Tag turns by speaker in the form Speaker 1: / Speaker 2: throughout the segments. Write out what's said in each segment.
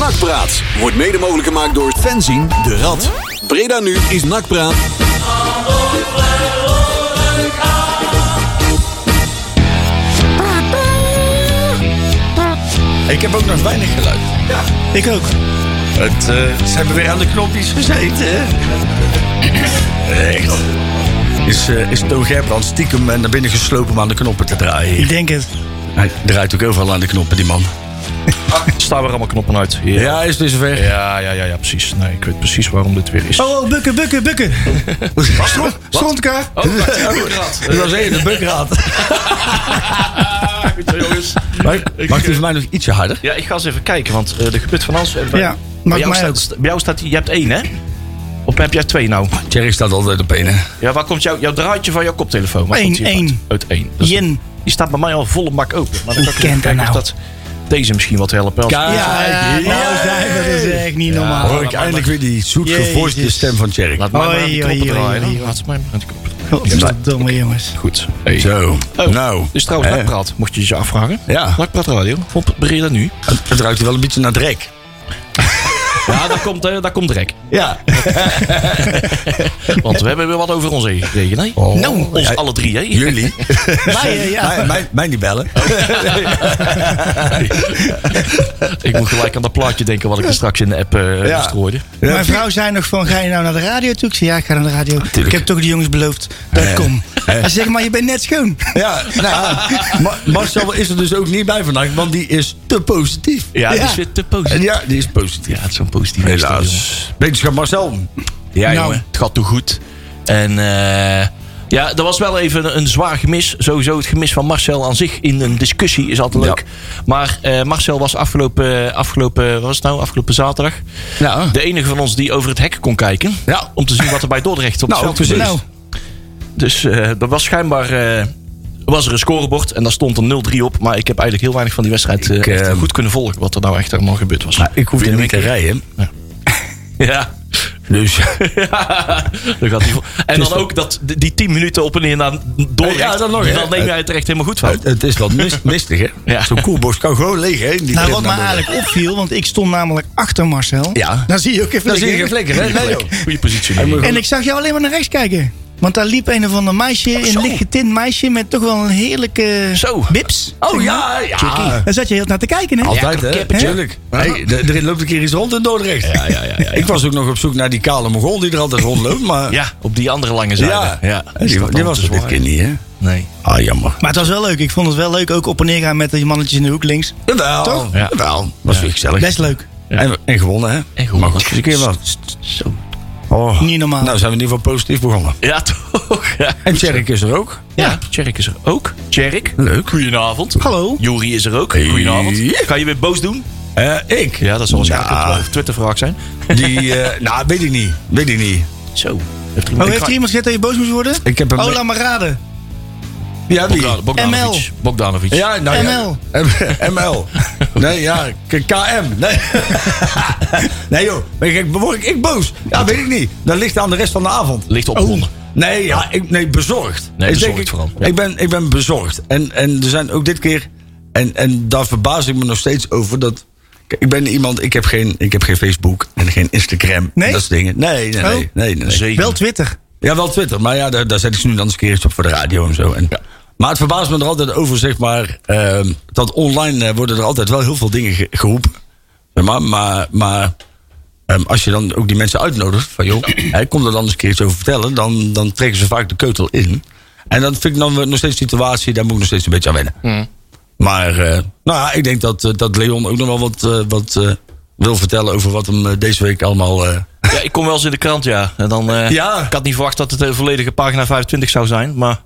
Speaker 1: Nakpraat wordt mede mogelijk gemaakt door fanzine De Rad. Breda nu is Nakpraat.
Speaker 2: Ik heb ook nog weinig geluid. Ja, ik ook. Het, eh, ze hebben weer aan de knopjes gezeten, hè? Echt. Is, eh is Toon Gerbrand stiekem eh, naar binnen geslopen om aan de knoppen te draaien? hier?
Speaker 3: Ik denk het.
Speaker 2: Hij draait ook heel veel aan de knoppen, die man.
Speaker 3: Staan weer allemaal knoppen uit. Ja.
Speaker 2: Ja, is dus weer.
Speaker 3: Ja, ja, ja, ja, precies. Nee, ik weet precies waarom dit weer is.
Speaker 4: Oh, oh, bukken, bukken, bukken. Stront- Strontka.
Speaker 2: Dat Oh, was één, de bukraad.
Speaker 3: Goed zo, jongens.
Speaker 2: Mag mag die voor mij nog ietsje harder?
Speaker 3: Ja, ik ga eens even kijken, want eh, er gebeurt van alles. En bij-
Speaker 4: Ja,
Speaker 3: bij,
Speaker 4: maakt
Speaker 3: jou
Speaker 4: mij
Speaker 3: staat,
Speaker 4: ook.
Speaker 3: st- bij jou staat die, je hebt één, hè? Of heb jij twee nou?
Speaker 2: Thierry staat altijd op één, hè?
Speaker 3: Ja, waar komt jou, jouw draadje van jouw koptelefoon? Waar
Speaker 4: Eén,
Speaker 3: komt die
Speaker 4: één.
Speaker 3: Uit, uit één. Dat is-
Speaker 4: Jen.
Speaker 3: Die staat bij mij al volle bak open. Maar dan kan ik
Speaker 4: Wie
Speaker 3: even
Speaker 4: kent dat
Speaker 3: kijken of
Speaker 4: nou?
Speaker 3: dat deze misschien wat helpt. Als-
Speaker 2: Kijk,
Speaker 4: Ja, nou zijn we. Dat is echt niet normaal.
Speaker 2: Hoor ik eindelijk weer die zoetgevoiste
Speaker 4: Jezus.
Speaker 2: stem van Thierry.
Speaker 3: Laat mij maar aan de
Speaker 4: Oei,
Speaker 3: knoppen
Speaker 4: oei, oei,
Speaker 3: draaien.
Speaker 4: oei.
Speaker 3: Laat mij maar aan de knoppen draaien.
Speaker 4: Godverdomme jongens.
Speaker 3: Goed. Hey.
Speaker 2: Zo.
Speaker 3: Oh,
Speaker 2: Nou.
Speaker 3: Dus trouwens,
Speaker 2: hè?
Speaker 3: Nakpraat, mocht je je afvragen.
Speaker 2: Ja.
Speaker 3: Nakpraat Radio, op Breda nu.
Speaker 2: het, het ruikt wel een beetje naar drek.
Speaker 3: Ja, daar komt, eh, daar komt Drek.
Speaker 2: Ja.
Speaker 3: Want we hebben weer wat over ons heen gekregen, hè? nou, ons
Speaker 2: Ja.
Speaker 3: alle drie, hè?
Speaker 2: Jullie.
Speaker 4: Wij, eh, ja.
Speaker 2: Mij, mij, mij niet bellen.
Speaker 3: Ik moet gelijk aan dat plaatje denken wat ik er straks in de app eh
Speaker 2: Ja.
Speaker 3: verstrooide.
Speaker 4: Mijn vrouw zei nog van, ga je nou naar de radio toe? Ik zei, ja, ik ga naar de radio. Ik heb toch die jongens beloofd dat ik
Speaker 2: Ja.
Speaker 4: kom.
Speaker 2: Ja.
Speaker 4: Hij zegt, maar je bent net schoon.
Speaker 2: Ja, nou, ja. Ma- Marcel is er dus ook niet bij vandaag, want die is te positief.
Speaker 3: Ja,
Speaker 4: Ja.
Speaker 3: die zit te
Speaker 2: En
Speaker 3: positief.
Speaker 2: ja, die is positief.
Speaker 3: Ja, het is zo'n positieve stem,
Speaker 2: Helaas. Wetenschap Marcel. Ja,
Speaker 3: jongen.
Speaker 4: Nou,
Speaker 2: jongen.
Speaker 3: Het gaat toch goed. En eh, ja, er was wel even een, een zwaar gemis. Sowieso het gemis van Marcel aan zich in een discussie is altijd
Speaker 2: Ja.
Speaker 3: leuk. Maar eh, Marcel was afgelopen, afgelopen, wat was het nou? afgelopen zaterdag
Speaker 2: Nou,
Speaker 3: de enige van ons die over het hek kon kijken.
Speaker 2: Ja.
Speaker 3: Om te zien wat er bij Dordrecht op
Speaker 2: nou
Speaker 3: het veld
Speaker 2: precies.
Speaker 3: gebeurt.
Speaker 4: Nou.
Speaker 3: Dus eh er was schijnbaar eh, was er een scorebord en daar stond een 0-3 op. Maar ik heb eigenlijk heel weinig van die wedstrijd eh,
Speaker 2: Ik,
Speaker 3: echt
Speaker 2: eh,
Speaker 3: goed kunnen volgen wat er nou echt allemaal gebeurd was.
Speaker 2: Nou, ik hoefde
Speaker 3: Vind je
Speaker 2: niet te rijden.
Speaker 3: Ja.
Speaker 2: Dus
Speaker 3: Dan gaat die vo- en dan ook dat, die die 10 minuten op en neer naar Dordrecht.
Speaker 2: Ja, dat nog, hè?
Speaker 3: dan neem jij het er echt helemaal goed van.
Speaker 2: Oh. het, het is wat mis- mistig, hè?
Speaker 3: Ja.
Speaker 2: Zo'n koelborst kan gewoon leeg, hè? Die
Speaker 4: Nou,
Speaker 2: trip naar
Speaker 4: wat
Speaker 2: boven.
Speaker 4: mij eigenlijk opviel, want ik stond namelijk achter Marcel.
Speaker 2: Ja.
Speaker 4: Dan zie je ook even
Speaker 2: Dan zie je geen
Speaker 4: liggen.
Speaker 2: flikker, hè? Nee, joh.
Speaker 3: Goede positie.
Speaker 4: En ik zag jou alleen maar naar rechts kijken. Want daar liep een of ander meisje,
Speaker 3: zo.
Speaker 4: een lichtgetint meisje met toch wel een heerlijke
Speaker 3: Zo.
Speaker 4: bips.
Speaker 2: Oh ja, ja.
Speaker 4: Daar zat je heel naar te kijken, hè?
Speaker 2: Altijd,
Speaker 3: Ja,
Speaker 2: hè?
Speaker 3: kippertje.
Speaker 2: Tuurlijk. Hey, d- er loopt een keer iets rond in Dordrecht.
Speaker 3: Ja, ja, ja, ja, ja.
Speaker 2: Ik was ook nog op zoek naar die kale Mongool die er altijd rondloopt, maar...
Speaker 3: Ja, op die andere lange zijde.
Speaker 2: Ja.
Speaker 3: Ja.
Speaker 2: Die, die was er dit keer niet, hè?
Speaker 3: Nee.
Speaker 2: Ah, jammer.
Speaker 4: Maar het was wel leuk. Ik vond het wel leuk ook op en neer gaan met die mannetjes in de hoek links.
Speaker 2: Jawel.
Speaker 4: Toch?
Speaker 2: Ja. Jawel. Was weer gezellig.
Speaker 4: Best leuk.
Speaker 2: En, en gewonnen, hè?
Speaker 3: En gewonnen.
Speaker 2: Maar goed, eens een keer wat. Oh.
Speaker 4: Niet normaal.
Speaker 2: Nou, zijn we in ieder geval positief begonnen.
Speaker 3: Ja, toch? Ja.
Speaker 2: En Tjerk is er ook.
Speaker 3: Ja, Tjerk is er ook. Tjerk.
Speaker 2: Leuk.
Speaker 3: Goedenavond.
Speaker 4: Hallo.
Speaker 3: Jori is er ook. Goedenavond.
Speaker 2: Hey.
Speaker 3: Ga je weer boos doen?
Speaker 2: Eh, ik?
Speaker 3: Ja, dat zal waarschijnlijk
Speaker 2: Nou.
Speaker 3: een Twitter-vraag zijn.
Speaker 2: Die, eh, nou, weet ik niet. Weet ik niet.
Speaker 3: Zo. Heeft er
Speaker 4: Oh,
Speaker 3: iemand-
Speaker 4: heeft er iemand gezegd dat je boos moest worden?
Speaker 2: Ik heb hem...
Speaker 4: Oh, laat maar raden.
Speaker 2: ja, wie?
Speaker 3: Bogdan- Bogdanovic. Bogdanovic.
Speaker 2: Ja, nou
Speaker 4: ML.
Speaker 2: Ja. ML. Nee, ja, K- KM. Nee, nee joh, ben ik, word ik, ik boos? Ja, weet ik niet. Dat ligt aan de rest van de avond.
Speaker 3: Ligt opgewonden.
Speaker 2: Nee, ja, ik, nee bezorgd.
Speaker 3: Nee,
Speaker 2: Ik
Speaker 3: bezorgd
Speaker 2: denk ik,
Speaker 3: vooral.
Speaker 2: Ik ben, ik ben bezorgd. En, en er zijn ook dit keer... En, en daar verbaas ik me nog steeds over dat... Kijk, Ik ben iemand, ik heb geen, ik heb geen Facebook en geen Instagram.
Speaker 4: Nee?
Speaker 2: Dat soort dingen. Nee, nee, nee.
Speaker 4: Oh.
Speaker 2: nee, nee, nee.
Speaker 3: Zeker.
Speaker 4: Wel Twitter.
Speaker 2: Ja, wel Twitter. Maar ja, daar, daar zet ik ze nu dan eens een keer iets op voor de radio en zo. En, Maar het verbaast me er altijd over, zeg maar... ehm, dat online eh, worden er altijd wel heel veel dingen ge- geroepen. Zeg maar, maar, maar ehm, als je dan ook die mensen uitnodigt... van joh, hè, kom er dan eens een keer iets over vertellen... Dan, dan trekken ze vaak de keutel in. En dat vind ik dan weer nog steeds een situatie... daar moet ik nog steeds een beetje aan wennen. Maar eh, nou ja, ik denk dat, eh, dat Leon ook nog wel wat, eh, wat eh, wil vertellen... over wat hem eh, deze week allemaal... eh,
Speaker 3: Ja, ik kom wel eens in de krant, ja. En dan, eh,
Speaker 2: Ja.
Speaker 3: Ik had niet verwacht dat het eh, volledige pagina 25 zou zijn. Maar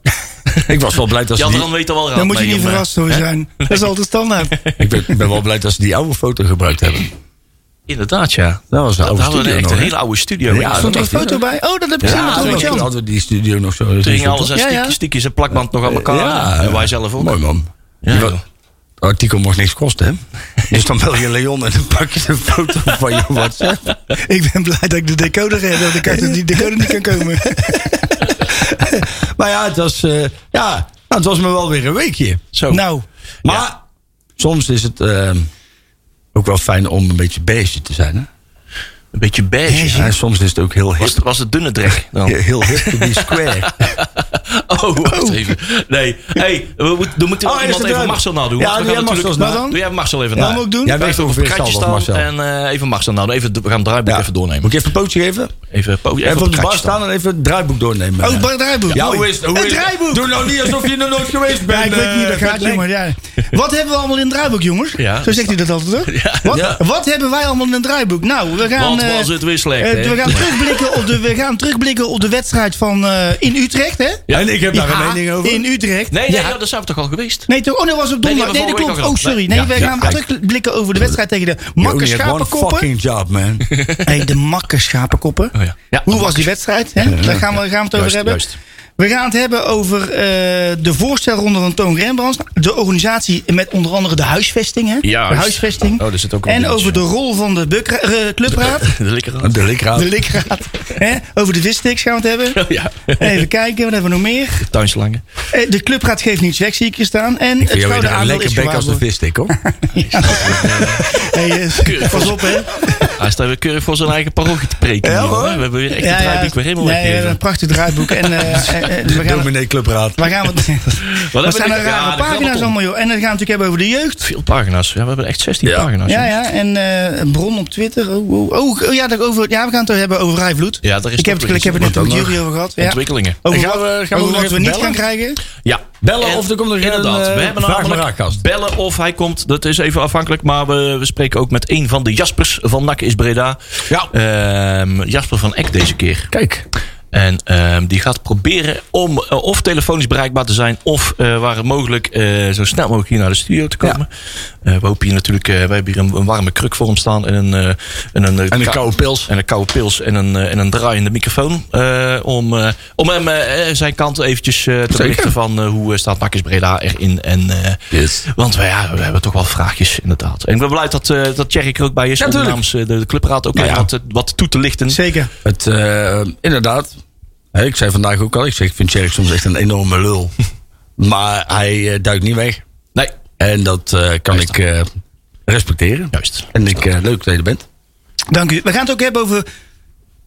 Speaker 2: ik was wel blij dat ze die-
Speaker 3: Jan weet al wel raad
Speaker 4: Daar moet je
Speaker 3: mee
Speaker 4: niet
Speaker 3: om, eh,
Speaker 4: verrast over zijn. Dat is altijd standaard.
Speaker 2: Ik ben, ik ben wel blij dat ze die oude foto gebruikt hebben.
Speaker 3: Inderdaad, ja.
Speaker 2: Nou, Dat was de
Speaker 3: Nou, Dat
Speaker 2: oude
Speaker 3: hadden we
Speaker 2: studio
Speaker 3: echt
Speaker 2: nog.
Speaker 3: een
Speaker 2: hè?
Speaker 3: hele oude studio.
Speaker 2: Ja,
Speaker 3: Ja,
Speaker 4: Stond er een
Speaker 2: echt,
Speaker 4: foto bij? Oh, dat heb ik gezien
Speaker 2: Ja,
Speaker 4: met Robert
Speaker 2: toen
Speaker 4: Jan.
Speaker 2: hadden we die studio nog zo.
Speaker 3: Toen ging alles aan
Speaker 4: Ja, ja.
Speaker 3: stiekjes, stiekjes en plakband nog aan elkaar.
Speaker 2: Ja,
Speaker 3: en wij zelf ook.
Speaker 2: Mooi man.
Speaker 3: Ja,
Speaker 2: Die wa-
Speaker 3: joh.
Speaker 2: het artikel mocht niks kosten, hè? Dus dan bel je Leon en dan pak je een foto van je WhatsApp.
Speaker 4: Ik ben blij dat ik de decoder heb, dat ik uit die decoder niet kan komen.
Speaker 2: Maar ja, het was, eh, ja, nou, het was me wel weer een weekje.
Speaker 3: Zo.
Speaker 4: Nou,
Speaker 2: Maar soms is het eh, oké ook wel fijn om een beetje beige te zijn. Hè?
Speaker 3: Een beetje beige.
Speaker 2: Ja, soms is het ook heel
Speaker 3: Was,
Speaker 2: hip.
Speaker 3: het- was het dunne drek dan?
Speaker 2: Heel hip to be square.
Speaker 3: Oh, wacht even. Nee. Hey, we, moeten- we moeten
Speaker 2: Oh,
Speaker 3: wel
Speaker 2: is
Speaker 3: iemand
Speaker 2: het
Speaker 3: even
Speaker 2: ruim?
Speaker 3: Marcel nadoen.
Speaker 2: Ja,
Speaker 3: want we gaan
Speaker 2: doe jij
Speaker 3: natuurlijk-
Speaker 2: Marcel's na
Speaker 4: dan?
Speaker 3: Doe jij Marcel even
Speaker 2: Ja.
Speaker 3: na.
Speaker 4: Allemaal doen?
Speaker 3: Wij
Speaker 2: Jij weegt
Speaker 3: even op
Speaker 2: ongeveer
Speaker 3: een kratje
Speaker 2: hetzelfde
Speaker 3: staan
Speaker 2: als Marcel.
Speaker 3: en eh, even Marcel nadoen. Even, we gaan het draaiboek even doornemen.
Speaker 2: Moet je even een pootje geven?
Speaker 3: Even, eh, po-
Speaker 2: Even op de bar
Speaker 3: kratje
Speaker 2: staan en even het draaiboek doornemen.
Speaker 4: Oh, Bart Draaiboek.
Speaker 2: Ja,
Speaker 4: mooi.
Speaker 2: hoe is het? Hoe
Speaker 4: het
Speaker 2: is het?
Speaker 4: draaiboek.
Speaker 2: Doe nou niet alsof je er nooit geweest bent.
Speaker 4: Ja, ik weet niet,
Speaker 2: eh,
Speaker 4: dat gaat,
Speaker 2: Patrick.
Speaker 4: jongen. Ja. Wat hebben we allemaal in het draaiboek, jongens?
Speaker 3: Ja.
Speaker 4: Zo zegt hij dat altijd, toch? Wat,
Speaker 2: Ja.
Speaker 4: wat hebben wij allemaal in het draaiboek? Nou, we gaan...
Speaker 3: Want
Speaker 4: eh,
Speaker 3: was het weer slecht,
Speaker 4: eh,
Speaker 3: hè?
Speaker 4: we, gaan terugblikken op de, we gaan terugblikken op de wedstrijd van eh, in Utrecht, hè?
Speaker 2: Ja, en ik heb daar een
Speaker 4: Ja,
Speaker 2: mening over.
Speaker 4: In Utrecht.
Speaker 3: Nee, nee,
Speaker 4: Ja.
Speaker 3: ja, dat zijn we toch al geweest?
Speaker 4: Nee, toch? Oh, nee, dat was op
Speaker 3: Nee, die
Speaker 4: donderdag. Nee,
Speaker 3: hebben we
Speaker 4: dat
Speaker 3: vorige
Speaker 4: klopt. Oh,
Speaker 3: week al
Speaker 4: sorry.
Speaker 3: gedaan.
Speaker 4: Nee, we
Speaker 2: Ja,
Speaker 4: gaan
Speaker 2: ja, kijk.
Speaker 4: terugblikken over de wedstrijd tegen de
Speaker 2: You only had one
Speaker 4: makkerschapenkoppen.
Speaker 2: fucking job, man.
Speaker 4: Hey, de makkerschapenkoppen.
Speaker 3: Oh ja. Ja,
Speaker 4: Hoe was die wedstrijd? Hè? Daar gaan we, gaan we het over
Speaker 3: Juist,
Speaker 4: hebben.
Speaker 3: juist.
Speaker 4: We gaan het hebben over eh, de voorstelronde van Toon Rembrandt. De organisatie met onder andere de huisvesting. Hè?
Speaker 3: Ja,
Speaker 4: de
Speaker 3: juist.
Speaker 4: huisvesting.
Speaker 3: Oh, er zit ook een
Speaker 4: en
Speaker 3: dingetje.
Speaker 4: over de rol van de bukra- eh, clubraad.
Speaker 3: De likker.
Speaker 2: De likraad.
Speaker 4: De likraad. hè? Over de vissticks gaan we het hebben.
Speaker 3: Ja.
Speaker 4: Even kijken, wat hebben we nog meer?
Speaker 3: Tuinslangen.
Speaker 4: Eh, de clubraad geeft niets weg, zie ik hier staan. En het
Speaker 2: Vind jij weer
Speaker 4: gouden
Speaker 2: een
Speaker 4: aandeel
Speaker 2: lekker
Speaker 4: is
Speaker 2: bek als de
Speaker 4: gewaarborgd.
Speaker 2: vistik, hoor.
Speaker 4: Hey, eh, pas op, hè.
Speaker 3: Hij staat weer keurig voor zijn eigen parochie te preken.
Speaker 4: Ja,
Speaker 3: jongen.
Speaker 4: hoor.
Speaker 3: We hebben weer echt het draaiboek weer helemaal
Speaker 4: nee, we hebben
Speaker 3: weggegeven.
Speaker 4: een prachtig draaiboek. En, eh, eh, eh, we gaan het-
Speaker 2: Dominee Clubraad.
Speaker 4: Waar gaan we het?
Speaker 3: Wat
Speaker 4: Wat
Speaker 3: hebben
Speaker 4: zijn
Speaker 3: we-
Speaker 4: er
Speaker 3: ja, er
Speaker 4: rare
Speaker 3: gaat wat
Speaker 4: pagina's
Speaker 3: om.
Speaker 4: allemaal, joh. En dan gaan we natuurlijk hebben over de jeugd.
Speaker 3: Veel pagina's. Ja, we hebben echt 16
Speaker 2: Ja.
Speaker 3: pagina's.
Speaker 4: Ja,
Speaker 3: jongens.
Speaker 4: ja. En eh, een bron op Twitter. Oh, oh, oh, oh, ja, dat over, ja, we gaan het er hebben over Rijvloed.
Speaker 3: Ja, daar is
Speaker 4: ik, heb
Speaker 3: toch
Speaker 4: het, ik heb het net
Speaker 3: weer
Speaker 4: met
Speaker 3: iets
Speaker 4: Jury over gehad. Ja.
Speaker 3: Ontwikkelingen.
Speaker 4: Over
Speaker 2: Gaan
Speaker 4: wat,
Speaker 2: we- gaan we
Speaker 4: over
Speaker 2: nog
Speaker 4: wat we
Speaker 2: even
Speaker 4: niet
Speaker 2: bellen?
Speaker 4: gaan krijgen.
Speaker 3: Ja.
Speaker 2: Bellen
Speaker 3: En
Speaker 2: of er komt nog
Speaker 3: Inderdaad,
Speaker 2: een, eh,
Speaker 3: we hebben
Speaker 2: vraag maar
Speaker 3: namelijk
Speaker 2: raakast.
Speaker 3: bellen of hij komt. Dat is even afhankelijk, maar we, we spreken ook met een van de Jaspers van NAC is Breda.
Speaker 2: Ja.
Speaker 3: Ehm, Jasper van Eck deze keer.
Speaker 2: Kijk.
Speaker 3: En ehm, die gaat proberen om eh, of telefonisch bereikbaar te zijn... of eh, waar het mogelijk eh, zo snel mogelijk hier naar de studio te komen. Eh, we hopen hier natuurlijk... eh, we hebben hier een, een warme kruk voor hem staan en een... eh, en een, eh,
Speaker 2: En een
Speaker 3: ka-
Speaker 2: koude pils.
Speaker 3: en een koude pils en een, eh, en een draaiende microfoon. eh, om, eh, om hem eh, eh, zijn kant eventjes eh, te berichten van eh, hoe eh, staat Marcus Breda erin. En, eh,
Speaker 2: Yes.
Speaker 3: Want we, ja, we hebben toch wel vraagjes inderdaad. En ik ben blij dat, eh dat Thierry er ook bij is. om
Speaker 2: tuurlijk.
Speaker 3: namens eh, de, de clubraad ook
Speaker 2: Ja,
Speaker 3: even
Speaker 2: ja.
Speaker 3: Wat, eh, wat toe te lichten.
Speaker 4: Zeker.
Speaker 2: Het, eh, inderdaad. Hè, Ik zei vandaag ook al, ik, zeg, ik vind Sherrick soms echt een enorme lul. maar hij eh, duikt niet weg.
Speaker 3: Nee,
Speaker 2: En dat eh, kan ik eh, respecteren.
Speaker 3: juist.
Speaker 2: En ik, eh, leuk dat je er bent.
Speaker 4: Dank u. We gaan het ook hebben over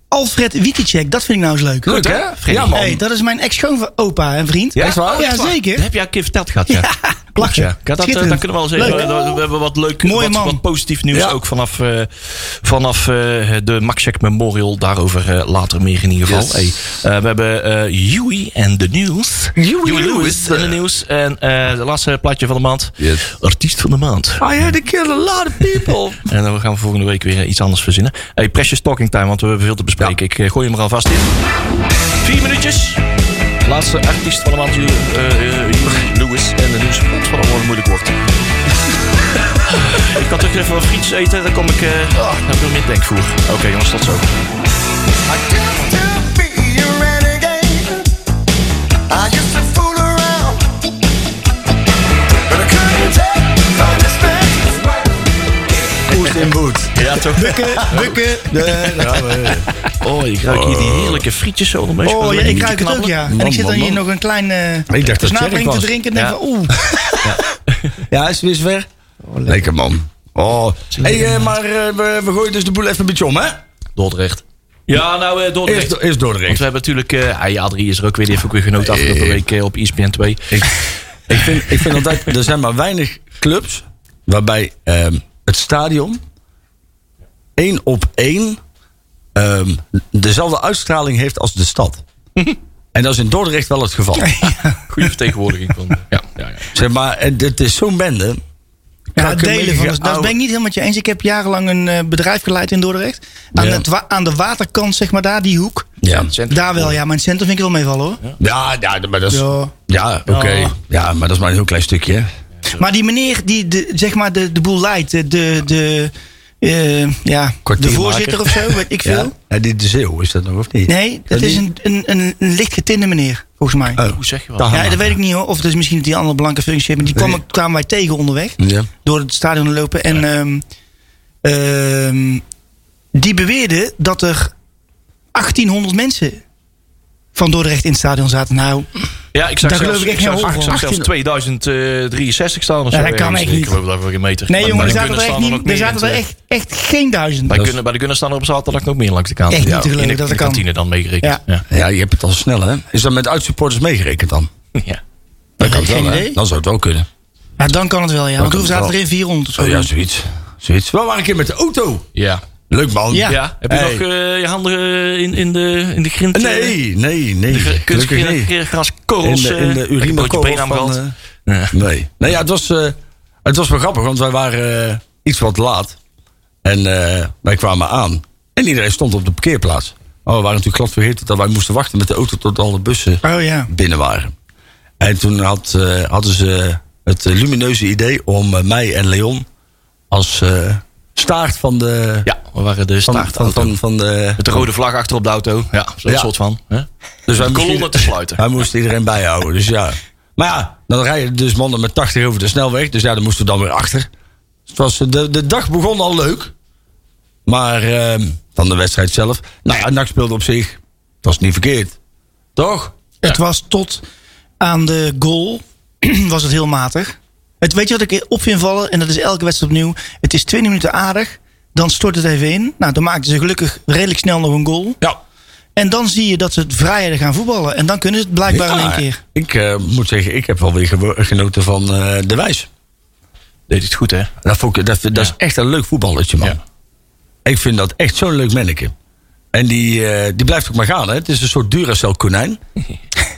Speaker 4: Alfred Wieticek. Dat vind ik nou eens leuk.
Speaker 2: Leuk, hè?
Speaker 3: Freddy?
Speaker 2: Ja, man.
Speaker 4: Hey, dat is mijn ex-schoonopa en vriend.
Speaker 2: Ja, echt waar?
Speaker 4: Ja, zeker.
Speaker 3: Dat heb jij een keer verteld gehad, ja.
Speaker 4: Lachen.
Speaker 3: Ja, dat, eh,
Speaker 4: Schitterend.
Speaker 3: dat kunnen we wel zeggen.
Speaker 4: Leuk.
Speaker 3: We, we hebben wat leuk,
Speaker 4: Mooi
Speaker 3: wat,
Speaker 4: man.
Speaker 3: wat positief nieuws
Speaker 2: Ja.
Speaker 3: ook vanaf, eh, vanaf eh, de Maxek Memorial. Daarover eh, later meer in ieder geval.
Speaker 2: Yes.
Speaker 3: Hey, eh, we hebben eh Huey en de News.
Speaker 2: Huey Lewis.
Speaker 3: en de News. En eh de laatste plaatje van de maand.
Speaker 2: Yes.
Speaker 3: Artiest van de maand.
Speaker 2: I had to kill a lot of people.
Speaker 3: En dan gaan we volgende week weer eh, iets anders verzinnen. Hey, precious talking time, want we hebben veel te bespreken. Ik eh, gooi hem er alvast in. Vier minuutjes. Laatste artiest van de maand, Ju- eh, eh, Huey Lewis. En de nieuws komt van allemaal moeilijk wordt. ik had ook even wat friets eten, dan kom ik... eh
Speaker 5: Ah.
Speaker 3: heb veel meer denkvoer. Oké jongens, tot zo.
Speaker 5: I used to be a renegade. I used to fool around, but I couldn't take my respect.
Speaker 2: Poes in boet.
Speaker 3: Ja toch?
Speaker 4: Bukken.
Speaker 3: Oh, ik ruik hier die heerlijke frietjes zo onder mijn
Speaker 4: Oh, ja, ik ruik het ook, ja. En
Speaker 2: Man,
Speaker 4: ik zit dan
Speaker 2: man,
Speaker 4: hier
Speaker 2: man.
Speaker 4: nog een klein eh,
Speaker 2: Ik dacht dat Jerry
Speaker 4: versnapeling te
Speaker 2: was. Nou,
Speaker 4: drinken. En denk
Speaker 3: Ja.
Speaker 4: van, oeh.
Speaker 2: Ja, is weer ver. lekker. man. Oh. Hey, eh, maar eh, we, we gooien dus de boel even een beetje om, hè?
Speaker 3: Dordrecht. Ja, nou, eh, Dordrecht.
Speaker 2: Eerst, eerst Dordrecht.
Speaker 3: Want we hebben natuurlijk... eh ah, ja, Adrie is er ook weer. Die heeft ook weer genoten afgelopen week eh, op ESPN 2.
Speaker 2: Ik vind, ik vind altijd, er zijn maar weinig clubs waarbij ehm, het stadion één op één ehm, dezelfde uitstraling heeft als de stad. En dat is in Dordrecht wel het geval.
Speaker 3: Goede vertegenwoordiging van. eh, Ja, ja, ja.
Speaker 2: Zeg maar, en dit is zo'n bende.
Speaker 4: Ja,
Speaker 2: Krakkemikkige
Speaker 4: delen van. Dat
Speaker 2: oude-
Speaker 4: ben ik niet helemaal met je eens. Ik heb jarenlang een eh, bedrijf geleid in Dordrecht. Aan,
Speaker 2: Ja.
Speaker 4: het wa- aan de waterkant, zeg maar, daar, die hoek.
Speaker 2: Ja,
Speaker 4: Daar wel, ja. Maar in het centrum vind ik wel meevallen, hoor.
Speaker 2: ja, ja, maar dat is...
Speaker 4: Ja.
Speaker 2: Ja, oké.
Speaker 4: Ja.
Speaker 2: Ja, maar dat is maar een heel klein stukje. hè.
Speaker 4: Maar die meneer die, de, zeg maar, de, de boel leidt. De, de, de, eh, ja, de
Speaker 2: Kwartiermaker.
Speaker 4: voorzitter of zo, weet ik veel.
Speaker 2: Ja. Ja, die de Zeeuw is dat nog, of niet?
Speaker 4: Nee, dat is een, een, een, een licht getinde meneer, volgens mij.
Speaker 2: Oh.
Speaker 3: Hoe zeg je
Speaker 2: Dag.
Speaker 3: wat?
Speaker 4: nou, Ja, dat weet ik niet hoor. Of dat is misschien dat die andere blanke functie heeft. Maar die kwam, kwamen wij tegen onderweg.
Speaker 2: Ja.
Speaker 4: door het stadion te lopen. En ehm, ehm, die beweerde dat er 1800 mensen van Dordrecht in het stadion zaten. Nou,
Speaker 3: Ja, ik zag
Speaker 4: Daar
Speaker 3: zelfs,
Speaker 4: geloof ik echt
Speaker 3: zag,
Speaker 4: geen hol
Speaker 3: ik zag
Speaker 4: van.
Speaker 3: zelfs 2063 staan of zo.
Speaker 4: Ja, dat kan
Speaker 3: ergens.
Speaker 4: echt
Speaker 3: ik
Speaker 4: niet.
Speaker 3: geloof dat we een meter.
Speaker 4: Nee, jongen,
Speaker 3: bij
Speaker 4: er
Speaker 3: de
Speaker 4: zaten
Speaker 3: Gunners
Speaker 4: er echt,
Speaker 3: staan nog
Speaker 4: niet, er
Speaker 3: meer
Speaker 4: zaten
Speaker 3: in
Speaker 4: er
Speaker 3: te-
Speaker 4: echt, echt geen duizend.
Speaker 3: Bij, kunnen, bij de Gunners staan er op zaterdag nog meer langs de kant.
Speaker 4: Echt niet
Speaker 3: Ja,
Speaker 4: te geloven
Speaker 3: in de,
Speaker 4: dat
Speaker 3: in de
Speaker 4: dat kan.
Speaker 3: kantine dan meegerekend.
Speaker 4: Ja.
Speaker 3: Ja.
Speaker 2: Ja, je hebt het al snel, hè? Is dat met uitsupporters meegerekend dan?
Speaker 3: Ja.
Speaker 2: Dat kan
Speaker 4: Geen
Speaker 2: wel, hè?
Speaker 4: idee.
Speaker 2: Dan zou het wel kunnen.
Speaker 4: Ja, dan kan het wel, ja. Want
Speaker 2: kan
Speaker 4: hoe
Speaker 2: het
Speaker 4: zaten er
Speaker 2: wel.
Speaker 4: in 400 of zo?
Speaker 2: Oh, ja, zoiets. zoiets. We waren een keer met de auto.
Speaker 3: Ja.
Speaker 2: Leuk, man.
Speaker 4: Ja.
Speaker 3: Ja, Heb je
Speaker 2: Hey.
Speaker 3: nog eh, je handen eh, in, in, de, in de grind? eh,
Speaker 2: Nee, nee, nee. Gelukkig
Speaker 3: kunstgras-
Speaker 2: niet. In
Speaker 3: graskorrels. eh,
Speaker 2: de, in de urinekorrel van... eh,
Speaker 3: Ja.
Speaker 2: Nee. Nee, ja, het was, eh, het was wel grappig, want wij waren eh, iets wat laat. En eh, wij kwamen aan. En iedereen stond op de parkeerplaats. Maar we waren natuurlijk glad vergeten dat wij moesten wachten met de auto tot alle bussen
Speaker 4: Oh ja.
Speaker 2: binnen waren. En toen had, eh, hadden ze het eh, lumineuze idee om eh, mij en Leon als eh, staart van de...
Speaker 3: ja, we waren de
Speaker 2: van,
Speaker 3: staart
Speaker 2: van, van, van de...
Speaker 3: Met de rode vlag achter op de auto. Ja, zo'n
Speaker 2: Ja.
Speaker 3: soort van. Hè?
Speaker 2: Dus wij
Speaker 3: De
Speaker 2: moesten-
Speaker 3: kolonne te sluiten.
Speaker 2: Hij moest iedereen bijhouden, dus ja. Maar ja, dan rijden dus mannen met 80 over de snelweg. Dus ja, dan moesten we dan weer achter. Dus het was, de, de dag begon al leuk. Maar ehm, dan de wedstrijd zelf. Nou ja, NAC speelde op zich. Dat was niet verkeerd. Toch?
Speaker 4: Het was tot aan de goal was het heel matig. Het, weet je wat ik op vind vallen? En dat is elke wedstrijd opnieuw. Het is 20 minuten aardig. Dan stort het even in. Nou, dan maakten ze gelukkig redelijk snel nog een goal.
Speaker 2: Ja.
Speaker 4: En dan zie je dat ze het vrijer gaan voetballen. En dan kunnen ze het blijkbaar in één keer.
Speaker 2: Ik eh, moet zeggen, ik heb wel weer gewo- genoten van eh, De Wijs.
Speaker 3: Deed het goed, hè?
Speaker 2: Dat, vond ik, dat, dat is echt een leuk voetballertje, man.
Speaker 3: Ja.
Speaker 2: Ik vind dat echt zo'n leuk manneke. En die, eh, die blijft ook maar gaan, hè. Het is een soort Duracell konijn.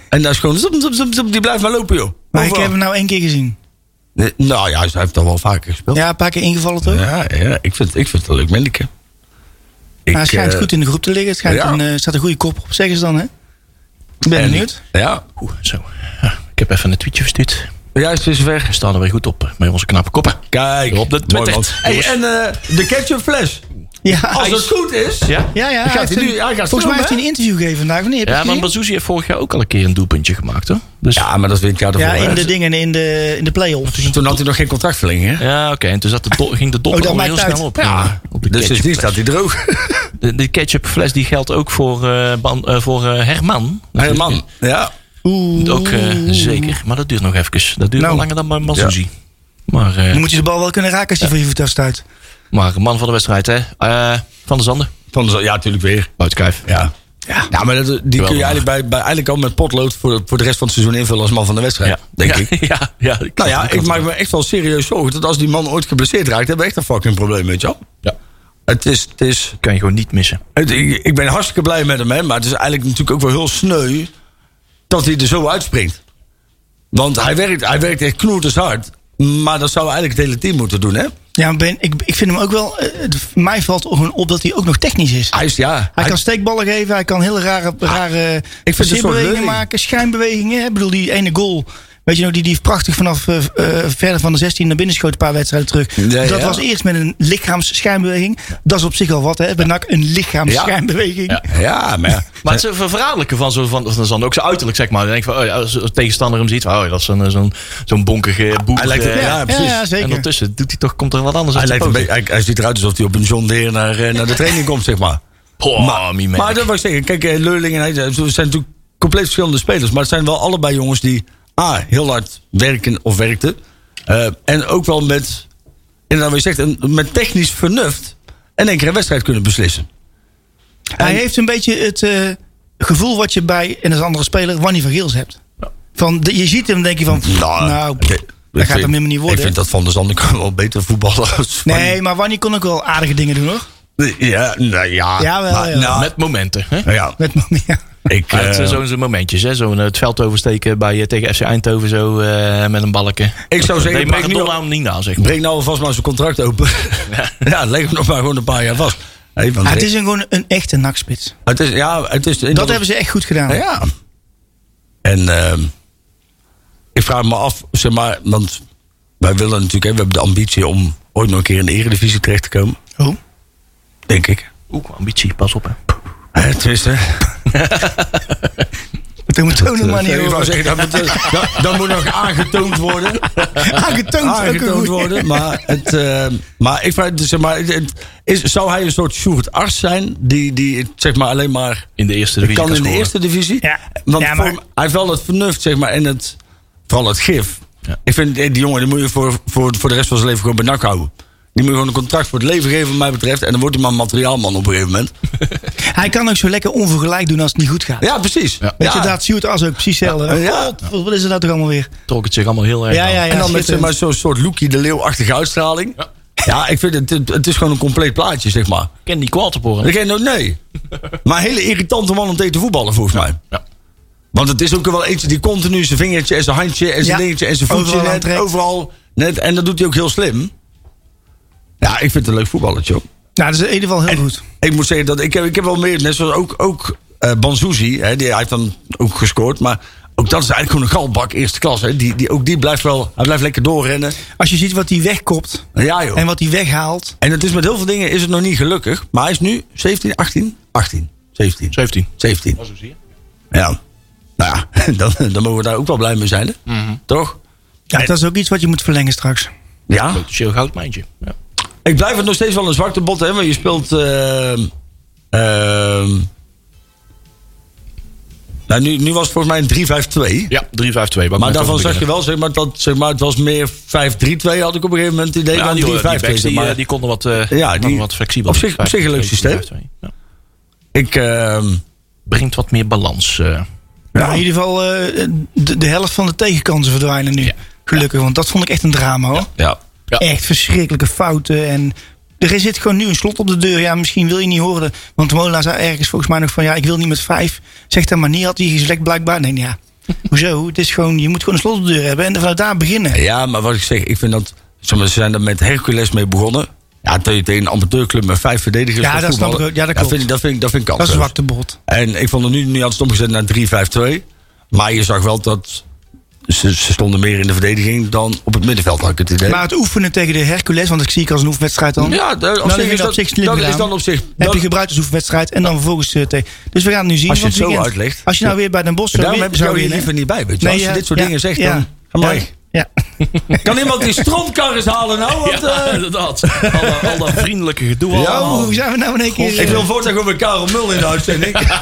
Speaker 2: en dat is gewoon... zup, zup, zup, zup, die blijft maar lopen, joh.
Speaker 4: Maar ik
Speaker 2: Overal.
Speaker 4: heb hem nou één keer gezien.
Speaker 2: Nee, Nou ja, hij heeft al wel vaker gespeeld.
Speaker 4: Ja, een paar keer ingevallen toch?
Speaker 2: ja, ja, ik, vind, ik vind het een leuk manneke. Ik,
Speaker 4: Maar hij Nou, schijnt
Speaker 2: eh,
Speaker 4: goed in de groep te liggen. Het schijnt
Speaker 2: ja.
Speaker 4: een, eh, staat een goede kop op, zeggen ze dan, hè? Ik ben
Speaker 2: en-
Speaker 4: benieuwd.
Speaker 2: Ja,
Speaker 3: Oeh, zo. Ja, ik heb even een tweetje verstuurd.
Speaker 2: juist is
Speaker 3: We
Speaker 2: weg.
Speaker 3: staan er weer goed op eh, met onze knappe koppen.
Speaker 2: Kijk,
Speaker 3: Op de
Speaker 2: mooi,
Speaker 3: Twitter.
Speaker 2: man. Hey,
Speaker 3: Jongens.
Speaker 2: en eh, de ketchup fles.
Speaker 4: Ja,
Speaker 2: Als het goed is,
Speaker 3: Ja?
Speaker 4: ja, ja.
Speaker 2: Gaat
Speaker 4: hij heeft
Speaker 2: hij nu-
Speaker 4: een-
Speaker 2: hij gaat
Speaker 4: volgens mij
Speaker 2: filmen,
Speaker 4: heeft hij een interview gegeven vandaag. Wanneer heb je
Speaker 3: Ja,
Speaker 4: het
Speaker 3: maar
Speaker 4: gezien?
Speaker 3: Bazouzi heeft vorig jaar ook al een keer een doelpuntje gemaakt, hoor. Dus, ja,
Speaker 2: Ja, maar dat is weer het jaar ervoor.
Speaker 4: Ja, in
Speaker 2: hè.
Speaker 4: de dingen, in de, in de play-offs.
Speaker 2: Toen had hij nog geen contractverlenging, hè?
Speaker 3: oké. En toen zat de do- ging de dop
Speaker 4: Oh, dat
Speaker 3: al heel
Speaker 4: maakt uit.
Speaker 3: snel op.
Speaker 2: Ja,
Speaker 3: op de
Speaker 2: dus sindsdien
Speaker 3: ketchupfles.
Speaker 2: staat hij droog.
Speaker 3: De, de ketchupfles die geldt ook voor, eh, ban- eh, voor eh, Herman.
Speaker 2: Hey, man, ja.
Speaker 4: Oeh.
Speaker 3: Ook eh, zeker. Maar dat duurt nog even. Dat duurt
Speaker 4: Nou.
Speaker 3: nog langer dan bij Mazouzi. Maar, eh,
Speaker 4: Dan moet je de bal wel kunnen raken als hij voor je voet afstuit.
Speaker 3: maar man van de wedstrijd, hè? Eh, van de Zanden.
Speaker 2: Van de zo- ja, natuurlijk weer.
Speaker 3: Buiten kijf.
Speaker 2: Ja. Ja, maar dat, die kun
Speaker 3: man.
Speaker 2: je eigenlijk, bij, bij, eigenlijk al met potlood voor, voor de rest van het seizoen invullen als man van de wedstrijd, denk ik.
Speaker 3: Ja, ja. ik-
Speaker 2: Nou ja,
Speaker 3: ik-
Speaker 2: ik maak me echt wel serieus zorgen dat als die man ooit geblesseerd raakt, hebben we echt een fucking probleem, weet je wel.
Speaker 3: Ja.
Speaker 2: Het is, het is,
Speaker 3: kan je gewoon niet missen.
Speaker 2: het- ik, ik ben hartstikke blij met hem, hè, maar het is eigenlijk natuurlijk ook wel heel sneu dat hij er zo uitspringt. Want hij werkt, hij werkt echt knoerters hard, maar dat zou eigenlijk het hele team moeten doen, hè?
Speaker 4: Ja, maar ben, ik, ik vind hem ook wel... eh, het- mij valt gewoon op dat hij ook nog technisch is.
Speaker 2: Hij is, ja,
Speaker 4: Hij kan steekballen geven, hij kan hele rare, rare
Speaker 2: het een soort
Speaker 4: bewegingen
Speaker 2: leuning.
Speaker 4: maken, schijnbewegingen. hè. Ik bedoel, die ene goal, weet je nog, die, die prachtig vanaf eh, eh, verder van de 16 naar binnen schoot een paar wedstrijden terug.
Speaker 2: Ja,
Speaker 4: dat
Speaker 2: ja.
Speaker 4: was eerst met een lichaamsschijnbeweging. Dat is op zich al wat, hè? Bij NAC een lichaamsschijnbeweging. Ja.
Speaker 2: ja, maar ja.
Speaker 3: Maar het is een verraderlijke van zo'n van, van Zanden. Ook zijn uiterlijk, zeg maar. Dan denk je van, oh ja, als een tegenstander hem ziet, oh, ja, dat is een, zo'n, zo'n bonkige boer.
Speaker 2: lijkt het-
Speaker 3: eh,
Speaker 2: ja, precies.
Speaker 4: ja, zeker.
Speaker 3: En ondertussen doet hij toch, komt er wat anders
Speaker 2: Hij,
Speaker 3: uit de
Speaker 2: lijkt een
Speaker 3: poten.
Speaker 2: beetje- hij, hij ziet eruit alsof hij op een John Deere naar, eh, naar de training komt, zeg maar.
Speaker 3: Poh, mie merk.
Speaker 2: Maar dat was zeggen, kijk, eh, Leurling en hij ze zijn natuurlijk compleet verschillende spelers. Maar het zijn wel allebei jongens die A, heel hard werken of werkten. eh, en ook wel met, inderdaad wat je zegt, een, met technisch vernuft in één keer een wedstrijd kunnen beslissen.
Speaker 4: Hij heeft een beetje het eh, gevoel wat je bij, en als andere speler, Wanny van Geels hebt. Van, de- je ziet hem, denk je van, pff, nou, pff,
Speaker 2: ik- ik
Speaker 4: dat gaat hem
Speaker 2: vind-
Speaker 4: helemaal niet
Speaker 2: Ik
Speaker 4: worden.
Speaker 2: vind dat Van der Zanden kan wel beter voetballen als Van-
Speaker 4: Nee, maar Wanny kon ook wel aardige dingen doen, hoor.
Speaker 2: Ja, nou ja.
Speaker 4: Jawel,
Speaker 2: maar,
Speaker 4: ja.
Speaker 2: nou,
Speaker 3: Met momenten. Hè?
Speaker 2: nou ja,
Speaker 4: Met man, ja.
Speaker 2: ik...
Speaker 3: Hij had
Speaker 2: eh,
Speaker 3: eh, zo'n zo'n momentjes, hè? Zo'n eh, het veld oversteken bij, eh, tegen FC Eindhoven zo eh, met een balken.
Speaker 2: Ik zou zeggen,
Speaker 3: Nee,
Speaker 2: breng nu
Speaker 3: Maradona
Speaker 2: al-
Speaker 3: hem niet na, zeg maar.
Speaker 2: Breng nou alvast maar zijn contract open. Ja, leg hem nog maar gewoon een paar jaar vast. Hey, want
Speaker 4: Ah, het is een, gewoon een echte nakspits.
Speaker 2: het is, ja, het is...
Speaker 4: Dat hebben ze echt goed gedaan.
Speaker 2: Nou ja. En ehm, ik vraag me af, zeg maar, want wij willen natuurlijk, hè, we hebben de ambitie om ooit nog een keer in de eredivisie terecht te komen,
Speaker 4: Oh.
Speaker 2: denk ik.
Speaker 3: Oeh, ambitie, pas op. Hè.
Speaker 2: Hè, tenminste.
Speaker 4: Toen moet tonen maar niet
Speaker 2: Ik wou
Speaker 4: horen.
Speaker 2: zeggen, dat, moet, eh, dat, dat moet nog aangetoond worden.
Speaker 4: Aangetoond, ook een
Speaker 2: aangetoond
Speaker 4: goeie.
Speaker 2: worden. Maar, het, eh, maar ik vraag, zeg maar, het- het is, zou hij een soort Sjoerd Arts zijn? Die, die het, zeg maar alleen maar
Speaker 3: In de eerste divisie
Speaker 2: Dus kan in de
Speaker 3: scoren.
Speaker 2: eerste divisie.
Speaker 4: Ja.
Speaker 2: Want
Speaker 4: Ja, maar-
Speaker 2: voor- hij heeft wel het vernuft, zeg maar, en het, vooral het gif.
Speaker 3: Ja.
Speaker 2: Ik vind, eh, die jongen, die moet je voor, voor, voor de rest van zijn leven gewoon bij NAC houden. Die moet je gewoon een contract voor het leven geven, wat mij betreft. En dan wordt hij maar materiaalman op een gegeven moment.
Speaker 4: Hij kan ook zo lekker onvergelijk doen als het niet goed gaat.
Speaker 2: Ja, precies. Ja.
Speaker 4: Weet je, daar Sjoerd As ook precies hetzelfde.
Speaker 2: Ja.
Speaker 4: God, Wat is er nou toch allemaal weer?
Speaker 3: Trok het zich allemaal heel erg
Speaker 4: Ja,
Speaker 3: aan.
Speaker 4: ja, ja.
Speaker 2: en dan met zeg
Speaker 4: schitterend.
Speaker 2: maar, zo'n soort Loekie de Leeuw-achtige uitstraling. Ja. ik vind het, het, het is gewoon een compleet plaatje, zeg maar.
Speaker 3: Ik ken die kwalteporen.
Speaker 2: Ik denk, nou, nee. Maar een hele irritante man om tegen te voetballen, volgens mij.
Speaker 3: Ja.
Speaker 2: Want het is ook wel eentje die continu zijn vingertje en zijn handje en zijn
Speaker 4: Ja.
Speaker 2: dingetje en zijn voetje
Speaker 4: Overal aan
Speaker 2: net,
Speaker 4: trekt.
Speaker 2: overal net. En dat doet hij ook heel slim. Ja, ik vind het een leuk voetballertje. hoor.
Speaker 4: Nou, dat is in ieder geval heel goed.
Speaker 2: Ik moet zeggen dat ik heb, ik heb wel meer, net zoals ook, ook eh Banzuzi, hè, die, hij heeft dan ook gescoord. Maar ook dat is eigenlijk gewoon een galbak eerste klas. Hè. Die, die, ook die blijft wel, hij blijft lekker doorrennen.
Speaker 4: Als je ziet wat hij wegkopt
Speaker 2: Ja joh.
Speaker 4: en wat hij weghaalt.
Speaker 2: En het is met heel veel dingen is het nog niet gelukkig. Maar hij is nu 17, 18? 18. 17.
Speaker 3: 17.
Speaker 2: 17.
Speaker 3: Zo zie je.
Speaker 2: Ja. Nou ja, dan, dan mogen we daar ook wel blij mee zijn. Hè? Toch?
Speaker 4: Ja, dat is ook iets wat je moet verlengen straks.
Speaker 2: Ja.
Speaker 3: Potentieel goudmijntje. Ja.
Speaker 2: Ik blijf het nog steeds wel een zwakte bot hebben. Want je speelt... ehm, ehm, nou, nu, nu was het volgens mij een 3-5-2.
Speaker 3: Ja, 3-5-2.
Speaker 2: Maar daarvan zag je wel, zeg maar, dat zeg maar, het was meer 5-3-2 had ik op een gegeven moment het idee.
Speaker 3: Ja,
Speaker 2: dan
Speaker 3: die, die
Speaker 2: 3-5-2,
Speaker 3: backs,
Speaker 2: zeg
Speaker 3: die,
Speaker 2: maar.
Speaker 3: eh, die konden wat, eh
Speaker 2: Ja,
Speaker 3: konden
Speaker 2: die-
Speaker 3: wat flexibel.
Speaker 2: op zich- op zich een leuk
Speaker 3: 5-2,
Speaker 2: systeem.
Speaker 3: 5-2, ja.
Speaker 2: Ik, ehm,
Speaker 3: Brengt wat meer balans. eh.
Speaker 4: Nou, in ieder geval eh, de, de helft van de tegenkansen verdwijnen nu.
Speaker 3: Ja.
Speaker 4: Gelukkig, want dat vond ik echt een drama hoor.
Speaker 2: ja.
Speaker 3: Ja.
Speaker 4: Echt verschrikkelijke fouten. En er zit gewoon nu een slot op de deur. Ja, misschien wil je niet horen. Want Mola zei ergens volgens mij nog van... ja, ik wil niet met vijf. Zeg dat maar niet. Had hij gezegd blijkbaar. Nee, ja. Hoezo? Het is gewoon, je moet gewoon een slot op de deur hebben. En vanuit daar beginnen.
Speaker 2: Ja, maar wat ik zeg, ik vind dat. zeg maar, Ze zijn er met Hercules mee begonnen. Ja, tegen tegen een amateurclub met vijf verdedigers.
Speaker 4: Ja,
Speaker 2: gaat
Speaker 4: dat snap
Speaker 2: voetballen.
Speaker 4: ik ook. Ja, dat klopt.
Speaker 2: vind ik, dat vind ik, dat vind ik
Speaker 4: Dat is
Speaker 2: kansloos.
Speaker 4: zwakte bot.
Speaker 2: En ik vond het nu, nu had het omgezet naar 3-5-2. Maar je zag wel dat ze, ze stonden meer in de verdediging dan op het middenveld, had ik het idee.
Speaker 4: Maar het oefenen tegen de Hercules... want ik zie ik als een oefenwedstrijd dan...
Speaker 2: ja, de- op
Speaker 4: Nou,
Speaker 2: zich
Speaker 4: dat
Speaker 2: is
Speaker 4: vind ik
Speaker 2: dat,
Speaker 4: op zich slim
Speaker 2: dat is
Speaker 4: gedaan.
Speaker 2: dan op zich.
Speaker 4: heb
Speaker 2: dat-
Speaker 4: je gebruikt als oefenwedstrijd en dan vervolgens eh, tegen. Dus we gaan het nu zien.
Speaker 2: Als je
Speaker 4: want
Speaker 2: het zo
Speaker 4: weekend-
Speaker 2: uitlegt.
Speaker 4: Als je nou weer bij Den Bosch
Speaker 2: daarom heb ik jou hier
Speaker 4: winnen-
Speaker 2: liever niet bij. Weet je. wel. Als je
Speaker 4: ja,
Speaker 2: dit soort
Speaker 4: ja,
Speaker 2: dingen zegt,
Speaker 4: ja,
Speaker 2: dan ga maar
Speaker 4: ja,
Speaker 2: weg.
Speaker 4: ja.
Speaker 2: Kan iemand die stroomkar eens halen nou? Want,
Speaker 3: ja,
Speaker 2: eh,
Speaker 3: inderdaad. Al dat, al dat vriendelijke gedoe.
Speaker 2: Ja,
Speaker 3: allemaal.
Speaker 4: Oh, hoe zijn we nou in één keer...
Speaker 2: ik wil voortaan gewoon weer Karel Mul in de uitzending.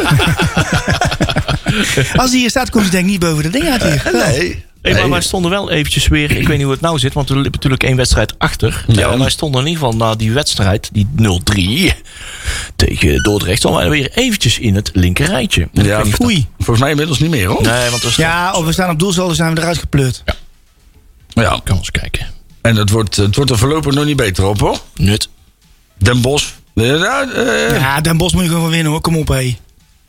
Speaker 4: Als hij hier staat, komt hij denk ik niet boven de ding uit hier.
Speaker 2: Nee.
Speaker 3: Hey, maar wij stonden wel eventjes weer, ik weet niet hoe het nou zit, want we liepen natuurlijk één wedstrijd achter.
Speaker 2: Ja.
Speaker 3: Ja. En wij stonden in ieder geval na die wedstrijd, die 0-3 tegen Dordrecht, stonden wij weer eventjes in het linker rijtje.
Speaker 2: Ja,
Speaker 4: Oei.
Speaker 2: Volgens mij inmiddels niet meer, hoor.
Speaker 3: Nee, want dat is
Speaker 4: Ja, of we staan op doelzolder, dus zijn we eruit gepleurd.
Speaker 2: Ja.
Speaker 3: kan eens kijken.
Speaker 2: En het wordt, het wordt er voorlopig nog niet beter op, hoor.
Speaker 3: Nut.
Speaker 2: Den Bosch. Eh, Ja, eh,
Speaker 4: Ja, Den Bosch moet je gewoon van winnen hoor, kom op hé.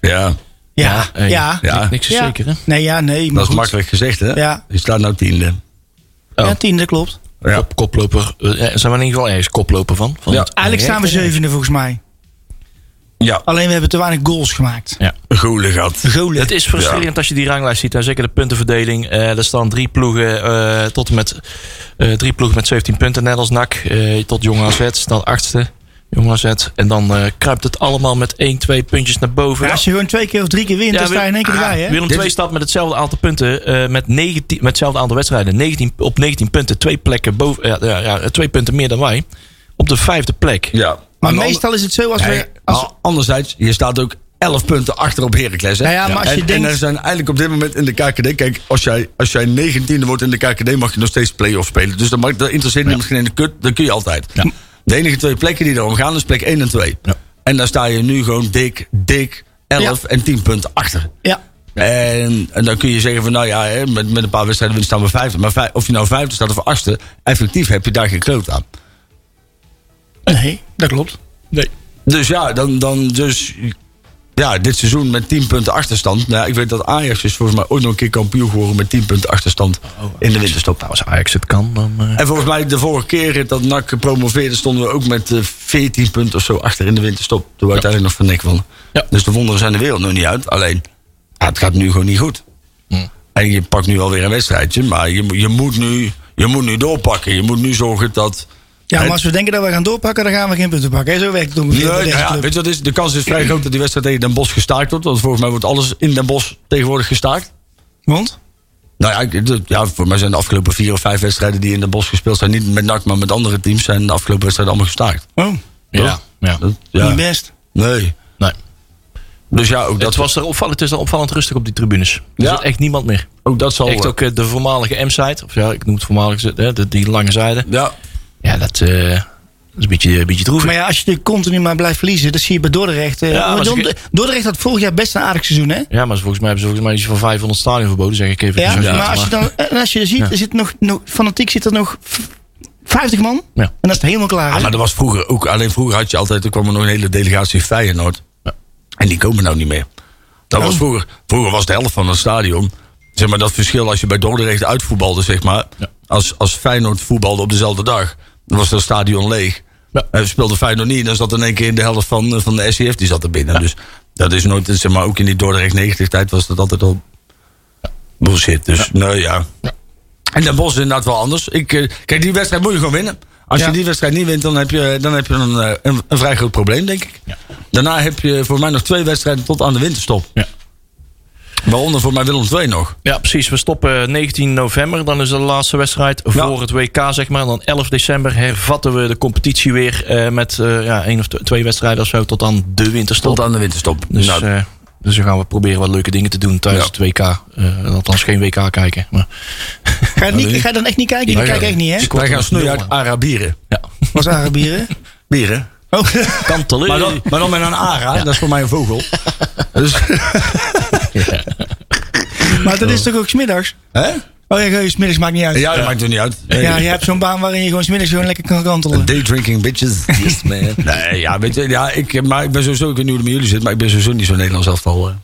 Speaker 2: ja.
Speaker 4: Ja, ja.
Speaker 3: hey, Oh, niks- Niks is
Speaker 4: Ja.
Speaker 3: zeker, hè?
Speaker 4: Nee, ja, nee, maar
Speaker 2: dat is
Speaker 4: goed.
Speaker 2: makkelijk gezegd, hè?
Speaker 4: Ja.
Speaker 2: Je staat nou tiende.
Speaker 3: Oh.
Speaker 4: Ja, tiende, klopt.
Speaker 2: Ja.
Speaker 3: Kop- koploper. eh, eh, zijn we in ieder geval ergens koploper van? van
Speaker 2: Ja.
Speaker 3: het-
Speaker 4: Eigenlijk staan we zevende volgens mij.
Speaker 2: Ja.
Speaker 4: Alleen we hebben te weinig goals gemaakt.
Speaker 3: Ja.
Speaker 2: Goelen gehad.
Speaker 4: Golen.
Speaker 3: Het is frustrerend als je die ranglijst ziet. En zeker de puntenverdeling. Eh er staan drie ploegen eh, tot en met eh, drie ploegen met 17 punten. Net als NAC. eh, tot Jong AZ. Dan achtste. Jong AZ. En dan eh, kruipt het allemaal met 1, 2 puntjes naar boven.
Speaker 4: Ja, als je gewoon twee keer of drie keer wint, dan sta je in één keer erbij hè.
Speaker 3: Ah, Willem
Speaker 2: Dit-
Speaker 3: 2 staat met hetzelfde aantal punten. eh, met, 19, met hetzelfde aantal wedstrijden. 19, op 19 punten. Twee plekken boven. ja, ja, ja, twee punten meer dan wij. Op de vijfde plek.
Speaker 2: Ja.
Speaker 4: Maar
Speaker 2: Aan de
Speaker 4: meestal is het zo als
Speaker 2: andere-
Speaker 4: we... Als,
Speaker 2: Maar anderzijds, je staat ook 11 punten achter op Heracles, hè?
Speaker 4: Nou Ja, ja, maar als je
Speaker 2: en, en
Speaker 4: denkt-
Speaker 2: er zijn eigenlijk op dit moment in de KKD... Kijk, als jij, als jij 19e wordt in de KKD... mag je nog steeds play-off spelen. Dus dat, mag, dat interesseert je misschien in de kut. Dat kun je altijd. De enige twee plekken die erom gaan is plek 1 en 2.
Speaker 3: Ja.
Speaker 2: En daar sta je nu gewoon dik, dik 11 en 10 punten achter.
Speaker 4: ja.
Speaker 2: En, en dan kun je zeggen van, nou ja, hè, met, met een paar wedstrijden winst staan we vijfde. Maar vij- of je nou vijfde staat of achtste, effectief heb je daar geen kloot aan.
Speaker 4: Nee, dat klopt.
Speaker 3: Nee.
Speaker 2: Dus ja, dan, dan dus, ja, dit seizoen met 10 punten achterstand. Nou, ja, ik weet dat Ajax is volgens mij ooit nog een keer kampioen geworden met 10 punten achterstand in de winterstop.
Speaker 3: Nou, als Ajax het kan, dan... eh,
Speaker 2: En volgens mij de vorige keer dat NAC promoveerde stonden we ook met eh, 14 punten of zo achter in de winterstop. Toen we uiteindelijk nog van niks wonnen.
Speaker 3: Ja.
Speaker 2: Dus de wonderen zijn de wereld nog niet uit. Alleen, ja, het gaat nu gewoon niet goed.
Speaker 3: Hm.
Speaker 2: En je pakt nu alweer een wedstrijdje, maar je, mo- je, moet nu, je moet nu doorpakken. Je moet nu zorgen dat...
Speaker 4: Ja, maar
Speaker 2: Het-
Speaker 4: als we denken dat we gaan doorpakken, dan gaan we geen punten pakken. hè. Zo werkt het ongeveer
Speaker 2: Nee,
Speaker 4: bij
Speaker 2: nou
Speaker 4: deze
Speaker 2: ja,
Speaker 4: club.
Speaker 2: weet je wat is? De kans is vrij groot dat die wedstrijd tegen Den Bosch gestaakt wordt. Want volgens mij wordt alles in Den Bosch tegenwoordig gestaakt.
Speaker 4: Want?
Speaker 2: Nou ja, ik- d- ja, voor mij zijn de afgelopen vier of vijf wedstrijden die in Den Bosch gespeeld zijn, niet met NAC, maar met andere teams, zijn de afgelopen wedstrijden allemaal gestaakt.
Speaker 4: Oh,
Speaker 3: Ja, ja.
Speaker 2: Dat-
Speaker 4: niet
Speaker 2: ja.
Speaker 4: best.
Speaker 2: Nee.
Speaker 3: Nee.
Speaker 2: Dus ja, ook
Speaker 3: Dat
Speaker 2: dat,
Speaker 3: was er opvallend, het is er opvallend rustig op die tribunes. Er
Speaker 2: Ja.
Speaker 3: zit echt niemand meer.
Speaker 2: ook dat zal.
Speaker 3: Echt ook eh, de voormalige M-site, of ja, ik noem het voormalige, hè, de, die lange zijde.
Speaker 2: Ja,
Speaker 3: Ja, dat, eh, dat is een beetje, een beetje droevig.
Speaker 4: Maar ja, als je natuurlijk continu maar blijft verliezen, dat zie je bij Dordrecht. eh,
Speaker 3: Ja,
Speaker 4: want
Speaker 3: maar ze-
Speaker 4: Dordrecht- Dordrecht had vorig jaar best een aardig seizoen, hè?
Speaker 3: Ja, maar volgens mij hebben ze volgens mij iets van 500 stadion verboden, zeg ik even.
Speaker 4: Ja,
Speaker 3: zo.
Speaker 4: maar als je dan, eh, en als je ziet, er zit nog, nog, fanatiek zit er nog v- 50 man.
Speaker 3: Ja.
Speaker 4: En dan is het helemaal klaar.
Speaker 2: Ah,
Speaker 4: hè?
Speaker 2: maar dat was vroeger ook. Alleen vroeger had je altijd, er kwam er nog een hele delegatie Feyenoord. En die komen nou niet meer. Dat was vroeger. Vroeger was de helft van het stadion. Zeg maar dat verschil als je bij Dordrecht uitvoetbalde, zeg maar. Als, als Feyenoord voetbalde op dezelfde dag, dan was dat stadion leeg.
Speaker 3: Ja.
Speaker 2: En speelde Feyenoord niet, dan zat in één keer de helft van, eh, van de SCF die zat er binnen. Dus dat is nooit, zeg maar, ook in die Dordrecht 90-tijd was dat altijd al bullshit. Dus nou ja. En Den Bosch is inderdaad wel anders. Ik, eh, kijk, die wedstrijd moet je gewoon winnen. Als
Speaker 4: Ja.
Speaker 2: je die wedstrijd niet wint, dan heb je, dan heb je een, eh, een, een vrij groot probleem, denk ik.
Speaker 3: Ja.
Speaker 2: Daarna heb je voor mij nog twee wedstrijden tot aan de winterstop.
Speaker 3: Ja.
Speaker 2: Waaronder voor mij Willem II nog.
Speaker 3: Ja, precies. We stoppen 19 november. Dan is de laatste wedstrijd voor het WK, zeg maar. Dan 11 december hervatten we de competitie weer eh, met eh, ja, één of tw- twee wedstrijden of zo tot aan de winterstop.
Speaker 2: Tot aan de winterstop.
Speaker 3: Dus,
Speaker 2: nou,
Speaker 3: eh, dus dan gaan we proberen wat leuke dingen te doen tijdens
Speaker 2: Ja.
Speaker 3: het WK. Eh, althans, geen WK kijken. Maar,
Speaker 4: ga, je niet- ga je dan echt niet kijken? Jullie kijken echt niet, hè?
Speaker 2: wij gaan snoeien
Speaker 3: nul
Speaker 2: uit Arabieren.
Speaker 3: ja.
Speaker 4: Was Arabieren.
Speaker 2: Bieren.
Speaker 4: Oh.
Speaker 3: Kantelen.
Speaker 2: Maar dan, maar dan met een ara, dat is voor mij een vogel. Dus,
Speaker 4: maar dat is toch ook smiddags?
Speaker 2: hè?
Speaker 4: Oh ja, je smiddags maakt niet uit.
Speaker 2: Ja, dat maakt er niet uit.
Speaker 4: Ja, je hebt zo'n baan waarin je gewoon smiddags gewoon lekker kan kantelen.
Speaker 2: Day drinking bitches. Yes, man. nee, ja, weet je, ja, ik, maar ik ben sowieso, ik weet niet hoe het met jullie zit, maar ik ben sowieso niet zo'n Nederlands elftal. eh.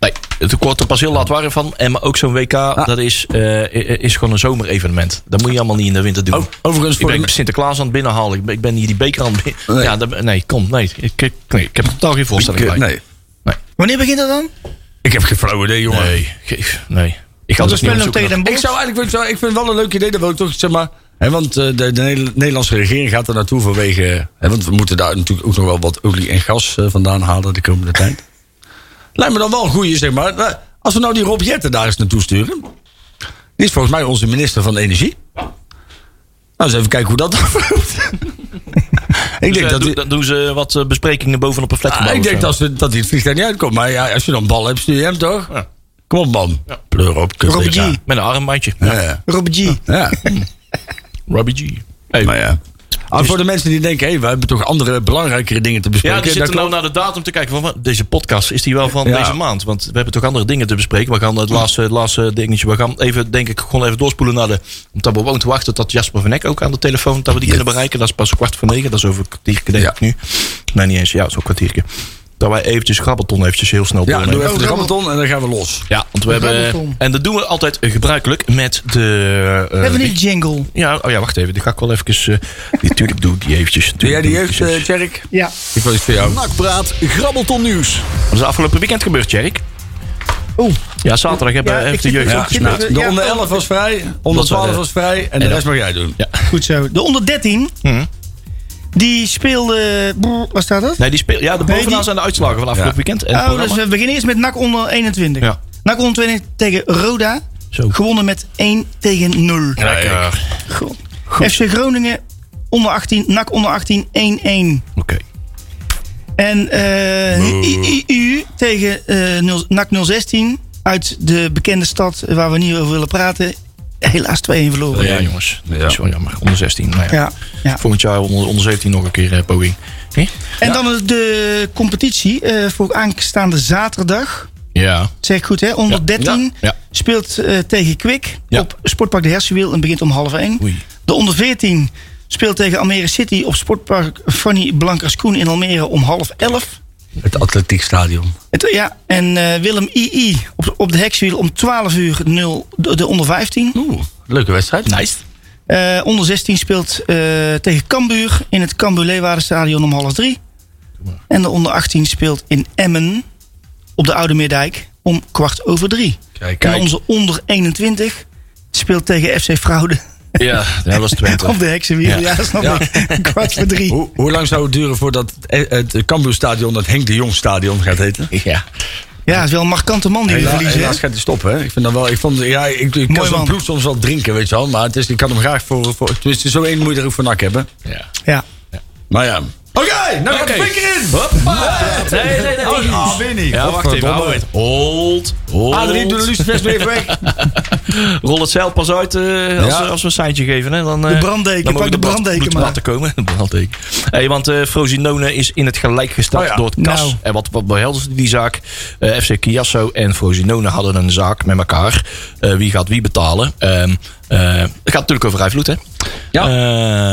Speaker 3: Nee, het wordt er pas heel laat warm van. En maar ook zo'n WK,
Speaker 2: Ah.
Speaker 3: dat is, eh, is gewoon een zomerevenement. Dat moet je allemaal niet in de winter doen.
Speaker 2: Oh, overigens,
Speaker 3: Ik
Speaker 2: voor
Speaker 3: ben
Speaker 2: de,
Speaker 3: Sinterklaas aan het binnenhalen. Ik ben, ik ben hier die beker aan het binnen-
Speaker 2: Nee. eh,
Speaker 3: Ja, dat- nee, kom. Nee ik, ik- nee, ik heb er totaal geen voorstelling bij.
Speaker 2: nee.
Speaker 4: Wanneer begint dat dan?
Speaker 2: Ik heb geen flauw idee, jongen.
Speaker 3: Nee, ge- nee. Ik
Speaker 4: Want
Speaker 3: had
Speaker 4: we
Speaker 3: het niet
Speaker 4: spelen nog
Speaker 3: opzoeken.
Speaker 4: tegen Den
Speaker 2: Ik
Speaker 4: Bosch.
Speaker 2: zou eigenlijk, wel- ik vind het wel een leuk idee dat we ook toch, zeg maar... Hè, want eh, de, de Nederla- Nederlandse regering gaat er naartoe vanwege... Hè, want we moeten daar natuurlijk ook nog wel wat olie en gas eh, vandaan halen de komende tijd. Lijkt me dan wel een goeie, zeg maar. Nou, Als we nou die Rob Jetten daar eens naartoe sturen... Die is volgens mij onze minister van Energie. Nou, eens even kijken hoe dat afloopt. ik
Speaker 3: Dus,
Speaker 2: denk
Speaker 3: eh,
Speaker 2: dat...
Speaker 3: doe-
Speaker 2: die-
Speaker 3: dan doen ze wat eh, besprekingen bovenop een flatgebouw.
Speaker 2: Ah, ik
Speaker 3: of
Speaker 2: denk
Speaker 3: zo.
Speaker 2: dat, ze, dat hij het vliegtuig niet uitkomt. Maar ja, als je dan bal hebt, stuur je hem toch?
Speaker 3: Ja.
Speaker 2: Kom op, man. Pleur op. kut,
Speaker 4: Robert
Speaker 2: ik ga.
Speaker 4: G.
Speaker 3: Met een armbandje.
Speaker 2: Ja.
Speaker 4: Robert G.
Speaker 2: ja.
Speaker 3: Robbie G. Hey.
Speaker 2: Maar ja. Ah, voor de mensen die denken, hé, we hebben toch andere belangrijkere dingen te
Speaker 3: Ja,
Speaker 2: bespreken.
Speaker 3: die
Speaker 2: Dat
Speaker 3: zitten nou
Speaker 2: eh, klopt.
Speaker 3: naar de datum te kijken. Van, wat, deze podcast, is die wel van
Speaker 2: Ja.
Speaker 3: deze maand? Want we hebben toch andere dingen te bespreken. We gaan het laatste, het laatste dingetje, we gaan even, denk ik, gewoon even doorspoelen naar de... Omdat we gewoon te wachten tot Jasper van Eck ook aan de telefoon, dat we die kunnen bereiken. Dat is pas kwart voor negen, dat is over een kwartiertje denk
Speaker 2: Ja.
Speaker 3: ik nu. Nee, niet eens. Ja, zo'n kwartiertje. Dat wij eventjes grabbelton eventjes heel snel
Speaker 2: Ja, doe
Speaker 3: doornemen.
Speaker 2: even de grammaton en dan gaan we los.
Speaker 3: Ja, want we hebben...
Speaker 4: Grabbelton.
Speaker 3: En dat doen we altijd gebruikelijk met de... eh,
Speaker 4: Even niet jingle.
Speaker 3: ja, oh ja, wacht even. Die ga ik wel even... natuurlijk doe ik die eventjes.
Speaker 2: Doe jij die
Speaker 3: Tuurlijk
Speaker 2: jeugd,
Speaker 3: doe ik die
Speaker 2: eh, Tjerk?
Speaker 4: Ja.
Speaker 2: Ik wil iets voor jou.
Speaker 1: Nakpraat, Nou, grabbelton nieuws.
Speaker 3: Dat is afgelopen weekend gebeurd, Jerk.
Speaker 4: Oeh.
Speaker 3: Ja, zaterdag hebben,
Speaker 4: Ja, ik
Speaker 3: heeft de
Speaker 4: zit
Speaker 3: jeugd
Speaker 4: er
Speaker 3: ook
Speaker 4: ook in.
Speaker 3: gespeeld.
Speaker 4: Ja,
Speaker 2: nou- De
Speaker 4: ja,
Speaker 2: onder
Speaker 4: oh.
Speaker 2: 11 was vrij, onder
Speaker 3: Dat was,
Speaker 2: 12
Speaker 3: eh,
Speaker 2: was vrij en de rest mag jij doen.
Speaker 4: Goed zo. De onder 13. Die speelde... brr, Waar staat dat?
Speaker 3: Nee, die speel, ja, de
Speaker 4: Nee,
Speaker 3: bovenaan
Speaker 4: die-
Speaker 3: zijn de uitslagen van afgelopen
Speaker 2: Ja.
Speaker 3: weekend. En het
Speaker 4: Oh, dus
Speaker 3: programma.
Speaker 4: we beginnen eerst met NAC onder 21.
Speaker 3: Ja.
Speaker 4: NAC onder 21 tegen Roda.
Speaker 3: Zo.
Speaker 4: Gewonnen met 1 tegen 0.
Speaker 3: Lekker.
Speaker 4: Goh. FC Groningen onder 18, NAC onder 18, 1-1.
Speaker 3: Oké.
Speaker 4: En eh IU tegen eh, nul- NAC 016 uit de bekende stad waar we niet over willen praten. Helaas 2-1 verloren.
Speaker 3: Ja, jongens. Dat
Speaker 2: Ja.
Speaker 3: is wel jammer. Onder 16. Nou ja.
Speaker 4: Ja, ja.
Speaker 3: Volgend jaar onder, onder 17 nog een keer eh, poging. Hé?
Speaker 4: En dan de competitie eh, voor aanstaande zaterdag.
Speaker 3: Ja.
Speaker 4: Zeg ik goed hè, onder 13
Speaker 3: Ja. Ja.
Speaker 4: speelt eh, tegen Kwik
Speaker 3: Ja.
Speaker 4: op Sportpark de Hersenwiel en begint om half 1.
Speaker 3: Oei.
Speaker 4: De onder 14 speelt tegen Almere City op Sportpark Fanny Blankers-Koen in Almere om half 11.
Speaker 2: Het atletiekstadion.
Speaker 4: Het- ja, en eh, Willem II op, op de hekswiel om 12 uur 0, de, de onder 15.
Speaker 2: Oeh, leuke wedstrijd.
Speaker 3: Nice.
Speaker 4: Eh, onder 16 speelt eh, tegen Cambuur in het Cambuur Leeuwardenstadion om half 3. En de onder 18 speelt in Emmen op de Oude Meerdijk om kwart over 3.
Speaker 2: Kijk,
Speaker 4: En onze onder 21 speelt tegen FC Fraude
Speaker 3: Ja, dat was Twente.
Speaker 4: Op de heksen weer. Ja,
Speaker 2: Ja.
Speaker 4: snap
Speaker 2: Ja.
Speaker 4: ik. Kwart voor drie.
Speaker 2: Hoe, hoe lang zou het duren voordat het het Cambuurstadion het Henk de Jong Stadion gaat heten?
Speaker 3: Ja.
Speaker 4: Ja, het is wel een markante man die we
Speaker 2: Hela-
Speaker 4: verliezen. hè?
Speaker 2: helaas gaat hij stoppen. Hè? Ik vind dat wel. Ik vond, ja, ik, ik kan
Speaker 4: Mooi
Speaker 2: zo'n
Speaker 4: man.
Speaker 2: bloed soms wel drinken, weet je wel. Maar het is, ik kan hem graag voor. voor tenminste, zo één moet je er ook voor nak hebben.
Speaker 3: ja.
Speaker 4: Ja.
Speaker 2: Maar ja. Oké, nou gaat de
Speaker 3: Oké.
Speaker 2: flikker in!
Speaker 3: Nee, nee, nee.
Speaker 6: Ah, weer niet.
Speaker 3: Ja, wacht even.
Speaker 2: Godverdomme.
Speaker 3: hou het. Hold, hold.
Speaker 2: Adrie, doe de lucifers weer even weg.
Speaker 3: Rol het zeil pas uit eh, als,
Speaker 2: Ja.
Speaker 3: als we een seintje geven. Hè? Dan, eh,
Speaker 4: De branddeken,
Speaker 3: dan mogen
Speaker 4: pak de
Speaker 3: blad-
Speaker 4: branddeken maar.
Speaker 3: bloedplaten komen. De branddeken. Hey, want eh Frosinone is in het gelijk gesteld
Speaker 2: Oh ja.
Speaker 3: door het KAS.
Speaker 4: Nou.
Speaker 3: En wat, wat behelde die zaak? Eh, FC Chiasso en Frosinone hadden een zaak met elkaar. Eh, wie gaat wie betalen? Ehm, eh, het gaat natuurlijk over Rijvloed, hè?
Speaker 2: Ja.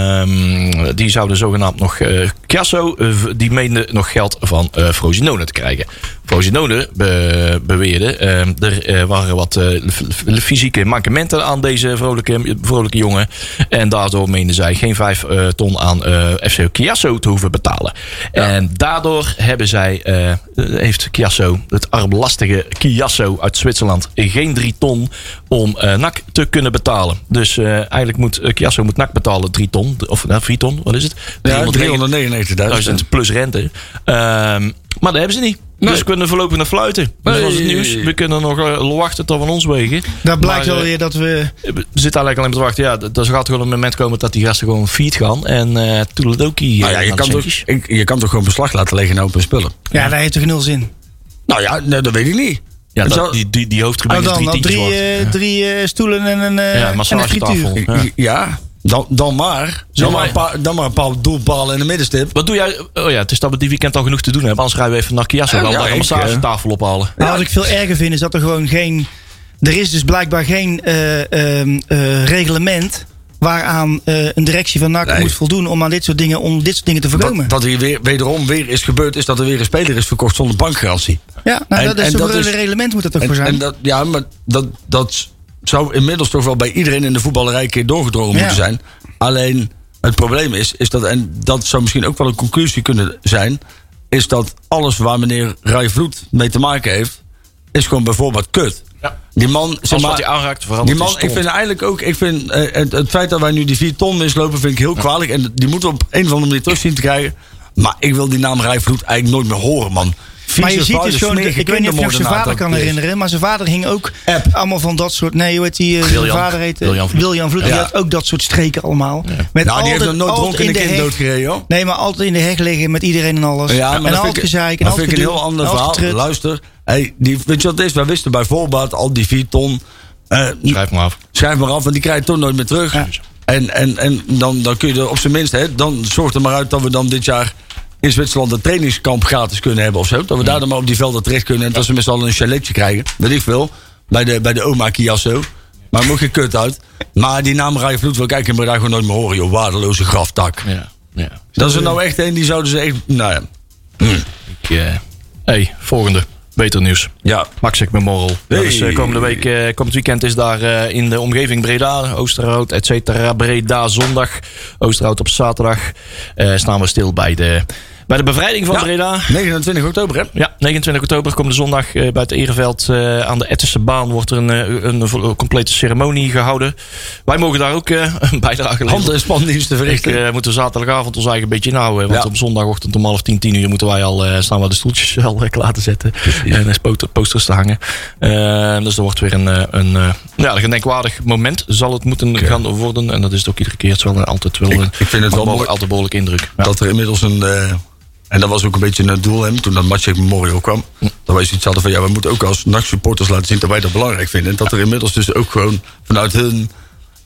Speaker 3: Ehm, die zouden zogenaamd nog... eh Chiasso, eh, v- die meende nog geld van eh Frosinone te krijgen. Frosinone be- beweerde... ehm, er eh, waren wat eh, f- f- fysieke mankementen aan deze vrolijke, vrolijke jongen. En daardoor meenden zij geen vijf eh, ton aan eh, FC Chiasso te hoeven betalen. En daardoor hebben zij, eh, heeft Chiasso, het armlastige Chiasso uit Zwitserland... geen drie ton om eh NAC te kunnen betalen. Dus eh, eigenlijk moet eh, Chiasso moet NAC betalen drie ton. Of nou, vier ton, wat is het?
Speaker 2: Ja,
Speaker 3: 399.000
Speaker 2: 399.000.
Speaker 3: plus rente. Ehm, maar dat hebben ze niet. Dus we kunnen voorlopig naar fluiten. Dus dat is het
Speaker 2: Nee.
Speaker 3: nieuws. We kunnen nog eh, wachten tot we ons wegen.
Speaker 4: Daar blijkt
Speaker 3: Maar,
Speaker 4: wel
Speaker 3: eh,
Speaker 4: weer dat we...
Speaker 3: we zitten eigenlijk alleen maar te wachten. Ja, d- er gaat gewoon een moment komen dat die gasten gewoon fiet gaan. En eh toedeledokie.
Speaker 2: Nou ja,
Speaker 3: eh,
Speaker 2: je
Speaker 3: naar de
Speaker 2: kan, toch,
Speaker 3: centjes.
Speaker 2: ik- je kan toch gewoon beslag laten leggen op een spullen?
Speaker 4: Ja, daar heeft toch nul zin.
Speaker 2: Nou ja, nee, dat weet ik niet.
Speaker 3: Ja,
Speaker 2: Ik
Speaker 3: dat,
Speaker 2: zou-
Speaker 3: die, die, die hoofdtribune
Speaker 4: Nou
Speaker 3: is
Speaker 4: dan,
Speaker 3: drie
Speaker 4: dan
Speaker 3: tientjes
Speaker 4: drie,
Speaker 3: waard.
Speaker 4: eh, drie eh, stoelen en een, eh,
Speaker 3: Ja,
Speaker 4: en een
Speaker 3: massagetafel.
Speaker 4: frituur.
Speaker 3: Ja.
Speaker 2: I- Ja, dan, dan maar. Dan maar,
Speaker 3: maar-
Speaker 2: een paar, dan maar een paar doelpalen in de middenstip.
Speaker 3: Wat doe jij? Oh ja, het is dat we die weekend al genoeg te doen hebben. Anders rijden we even naar Kiasso.
Speaker 2: Ja,
Speaker 3: Dan
Speaker 2: ja,
Speaker 3: daar een
Speaker 2: ik, eh,
Speaker 3: massagetafel ophalen.
Speaker 4: Maar wat ik veel erger vind is dat er gewoon geen... Er is dus blijkbaar geen eh, ehm, eh, reglement waaraan eh, een directie van NAC
Speaker 2: Nee.
Speaker 4: moet voldoen om aan dit soort dingen, om dit soort dingen te voorkomen.
Speaker 2: Wat, wat hier weer, wederom weer is gebeurd, is dat er weer een speler is verkocht zonder bankgarantie.
Speaker 4: ja, nou,
Speaker 2: en-
Speaker 4: dat is
Speaker 2: en
Speaker 4: toch
Speaker 2: dat
Speaker 4: wel
Speaker 2: is-
Speaker 4: een reglement moet dat ook voor
Speaker 2: En,
Speaker 4: zijn.
Speaker 2: en dat, ja, maar dat, dat zou inmiddels toch wel bij iedereen in de voetballerij een keer doorgedrongen
Speaker 4: Ja.
Speaker 2: moeten zijn. Alleen het probleem is, is dat, en dat zou misschien ook wel een conclusie kunnen zijn, is dat alles waar meneer Rijvloed mee te maken heeft, is gewoon bijvoorbeeld kut.
Speaker 3: Ja.
Speaker 2: Die man, zeg
Speaker 3: Als
Speaker 2: maar,
Speaker 3: wat hij aanraakt
Speaker 2: die
Speaker 3: verandert
Speaker 2: man,
Speaker 3: in
Speaker 2: ik
Speaker 3: stond.
Speaker 2: vind eigenlijk ook, ik vind, eh, het, het feit dat wij nu die vier ton mislopen, vind ik heel kwalijk. En die moeten we op een of andere manier terug zien te krijgen. Maar ik wil die naam Rijvloed eigenlijk nooit meer horen, man. Vieze,
Speaker 4: Maar je ziet
Speaker 2: vuile,
Speaker 4: dus gewoon,
Speaker 2: smerige
Speaker 4: ik weet niet of je nog zijn
Speaker 2: kindermoordenaar
Speaker 4: vader
Speaker 2: dat
Speaker 4: kan
Speaker 2: het is.
Speaker 4: herinneren, maar zijn vader hing ook
Speaker 2: App.
Speaker 4: allemaal van dat soort. Nee, hoe heet die? eh, zijn
Speaker 3: Wiljan.
Speaker 4: vader heet eh,
Speaker 3: Wiljan Vloed.
Speaker 4: Wiljan Vloed. Die
Speaker 2: Ja.
Speaker 4: had ook dat soort streken allemaal. Met
Speaker 2: Nou, die heeft nog
Speaker 4: altijd-
Speaker 2: nooit
Speaker 4: altijd
Speaker 2: dronken
Speaker 4: in
Speaker 2: een
Speaker 4: de
Speaker 2: kind
Speaker 4: heg.
Speaker 2: doodgereden, hoor.
Speaker 4: Nee, maar altijd in de heg liggen met iedereen en alles.
Speaker 2: Ja, maar
Speaker 4: en
Speaker 2: dat
Speaker 4: altijd
Speaker 2: vind ik,
Speaker 4: gezeik. En
Speaker 2: dat
Speaker 4: altijd
Speaker 2: vind ik een heel
Speaker 4: gedoe,
Speaker 2: ander
Speaker 4: altijd
Speaker 2: verhaal.
Speaker 4: getrut.
Speaker 2: Luister, hey, die, weet je wat het is? Wij wisten bij voorbaat al die vier ton. eh,
Speaker 3: Schrijf maar af.
Speaker 2: schrijf maar af, want die krijg je toch nooit meer terug.
Speaker 4: Ja.
Speaker 2: En, en, en dan, dan kun je er op zijn minst, hè, dan zorgt er maar uit dat we dan dit jaar in Zwitserland een trainingskamp gratis kunnen hebben of zo. Dat we daar dan maar op die velden terecht kunnen en dat ze met z'n allen een chaletje krijgen. Weet ik veel. Bij de, bij de oma Kiasso. Maar moet je kut uit. Maar die naam Rijvloed Vloed wil kijken, maar daar gewoon nooit meer horen, joh. Waardeloze graftak.
Speaker 3: Ja, ja.
Speaker 2: Dat is er nou echt een, die zouden ze echt. Nou ja.
Speaker 3: Ik, eh, hey, volgende. Beter nieuws.
Speaker 2: ja.
Speaker 3: Max ik mijn morrel. Dat is, eh,
Speaker 2: Hey.
Speaker 3: komende week, eh, komend weekend is daar eh, in de omgeving Breda, Oosterhout, et cetera. Breda zondag, Oosterhout op zaterdag. Eh, staan we stil bij de, bij de bevrijding van
Speaker 2: Ja.
Speaker 3: Breda.
Speaker 2: 29 oktober, hè?
Speaker 3: Ja, 29 oktober komende zondag eh, buiten Ereveld eh, aan de Ettense baan wordt er een, eh, een, vo- complete ceremonie gehouden. Wij mogen daar ook eh, een bijdrage leveren.
Speaker 2: Handen en spandiensten
Speaker 3: Ik
Speaker 2: verrichten.
Speaker 3: eh, moeten we zaterdagavond ons eigen beetje inhouden. Want
Speaker 2: Ja.
Speaker 3: op zondagochtend om half tien, tien uur moeten wij al eh, staan we de stoeltjes al eh, klaar te zetten. En eh, spo- posters te hangen. Eh, dus er wordt weer een, eh, een, eh, ja, een gedenkwaardig moment zal het moeten gaan worden. En dat is het ook iedere keer. Het is wel eh, altijd wel. eh,
Speaker 2: ik vind het
Speaker 3: maakt
Speaker 2: wel
Speaker 3: behoor-
Speaker 2: mooi.
Speaker 3: Altijd behoorlijk indruk. Ja.
Speaker 2: Dat er inmiddels een. eh, en dat was ook een beetje het doel hem, toen dat Matchek Memorial kwam. Dat wij zoiets hadden van ja, we moeten ook als NAC-supporters laten zien dat wij dat belangrijk vinden. En dat er inmiddels dus ook gewoon vanuit hun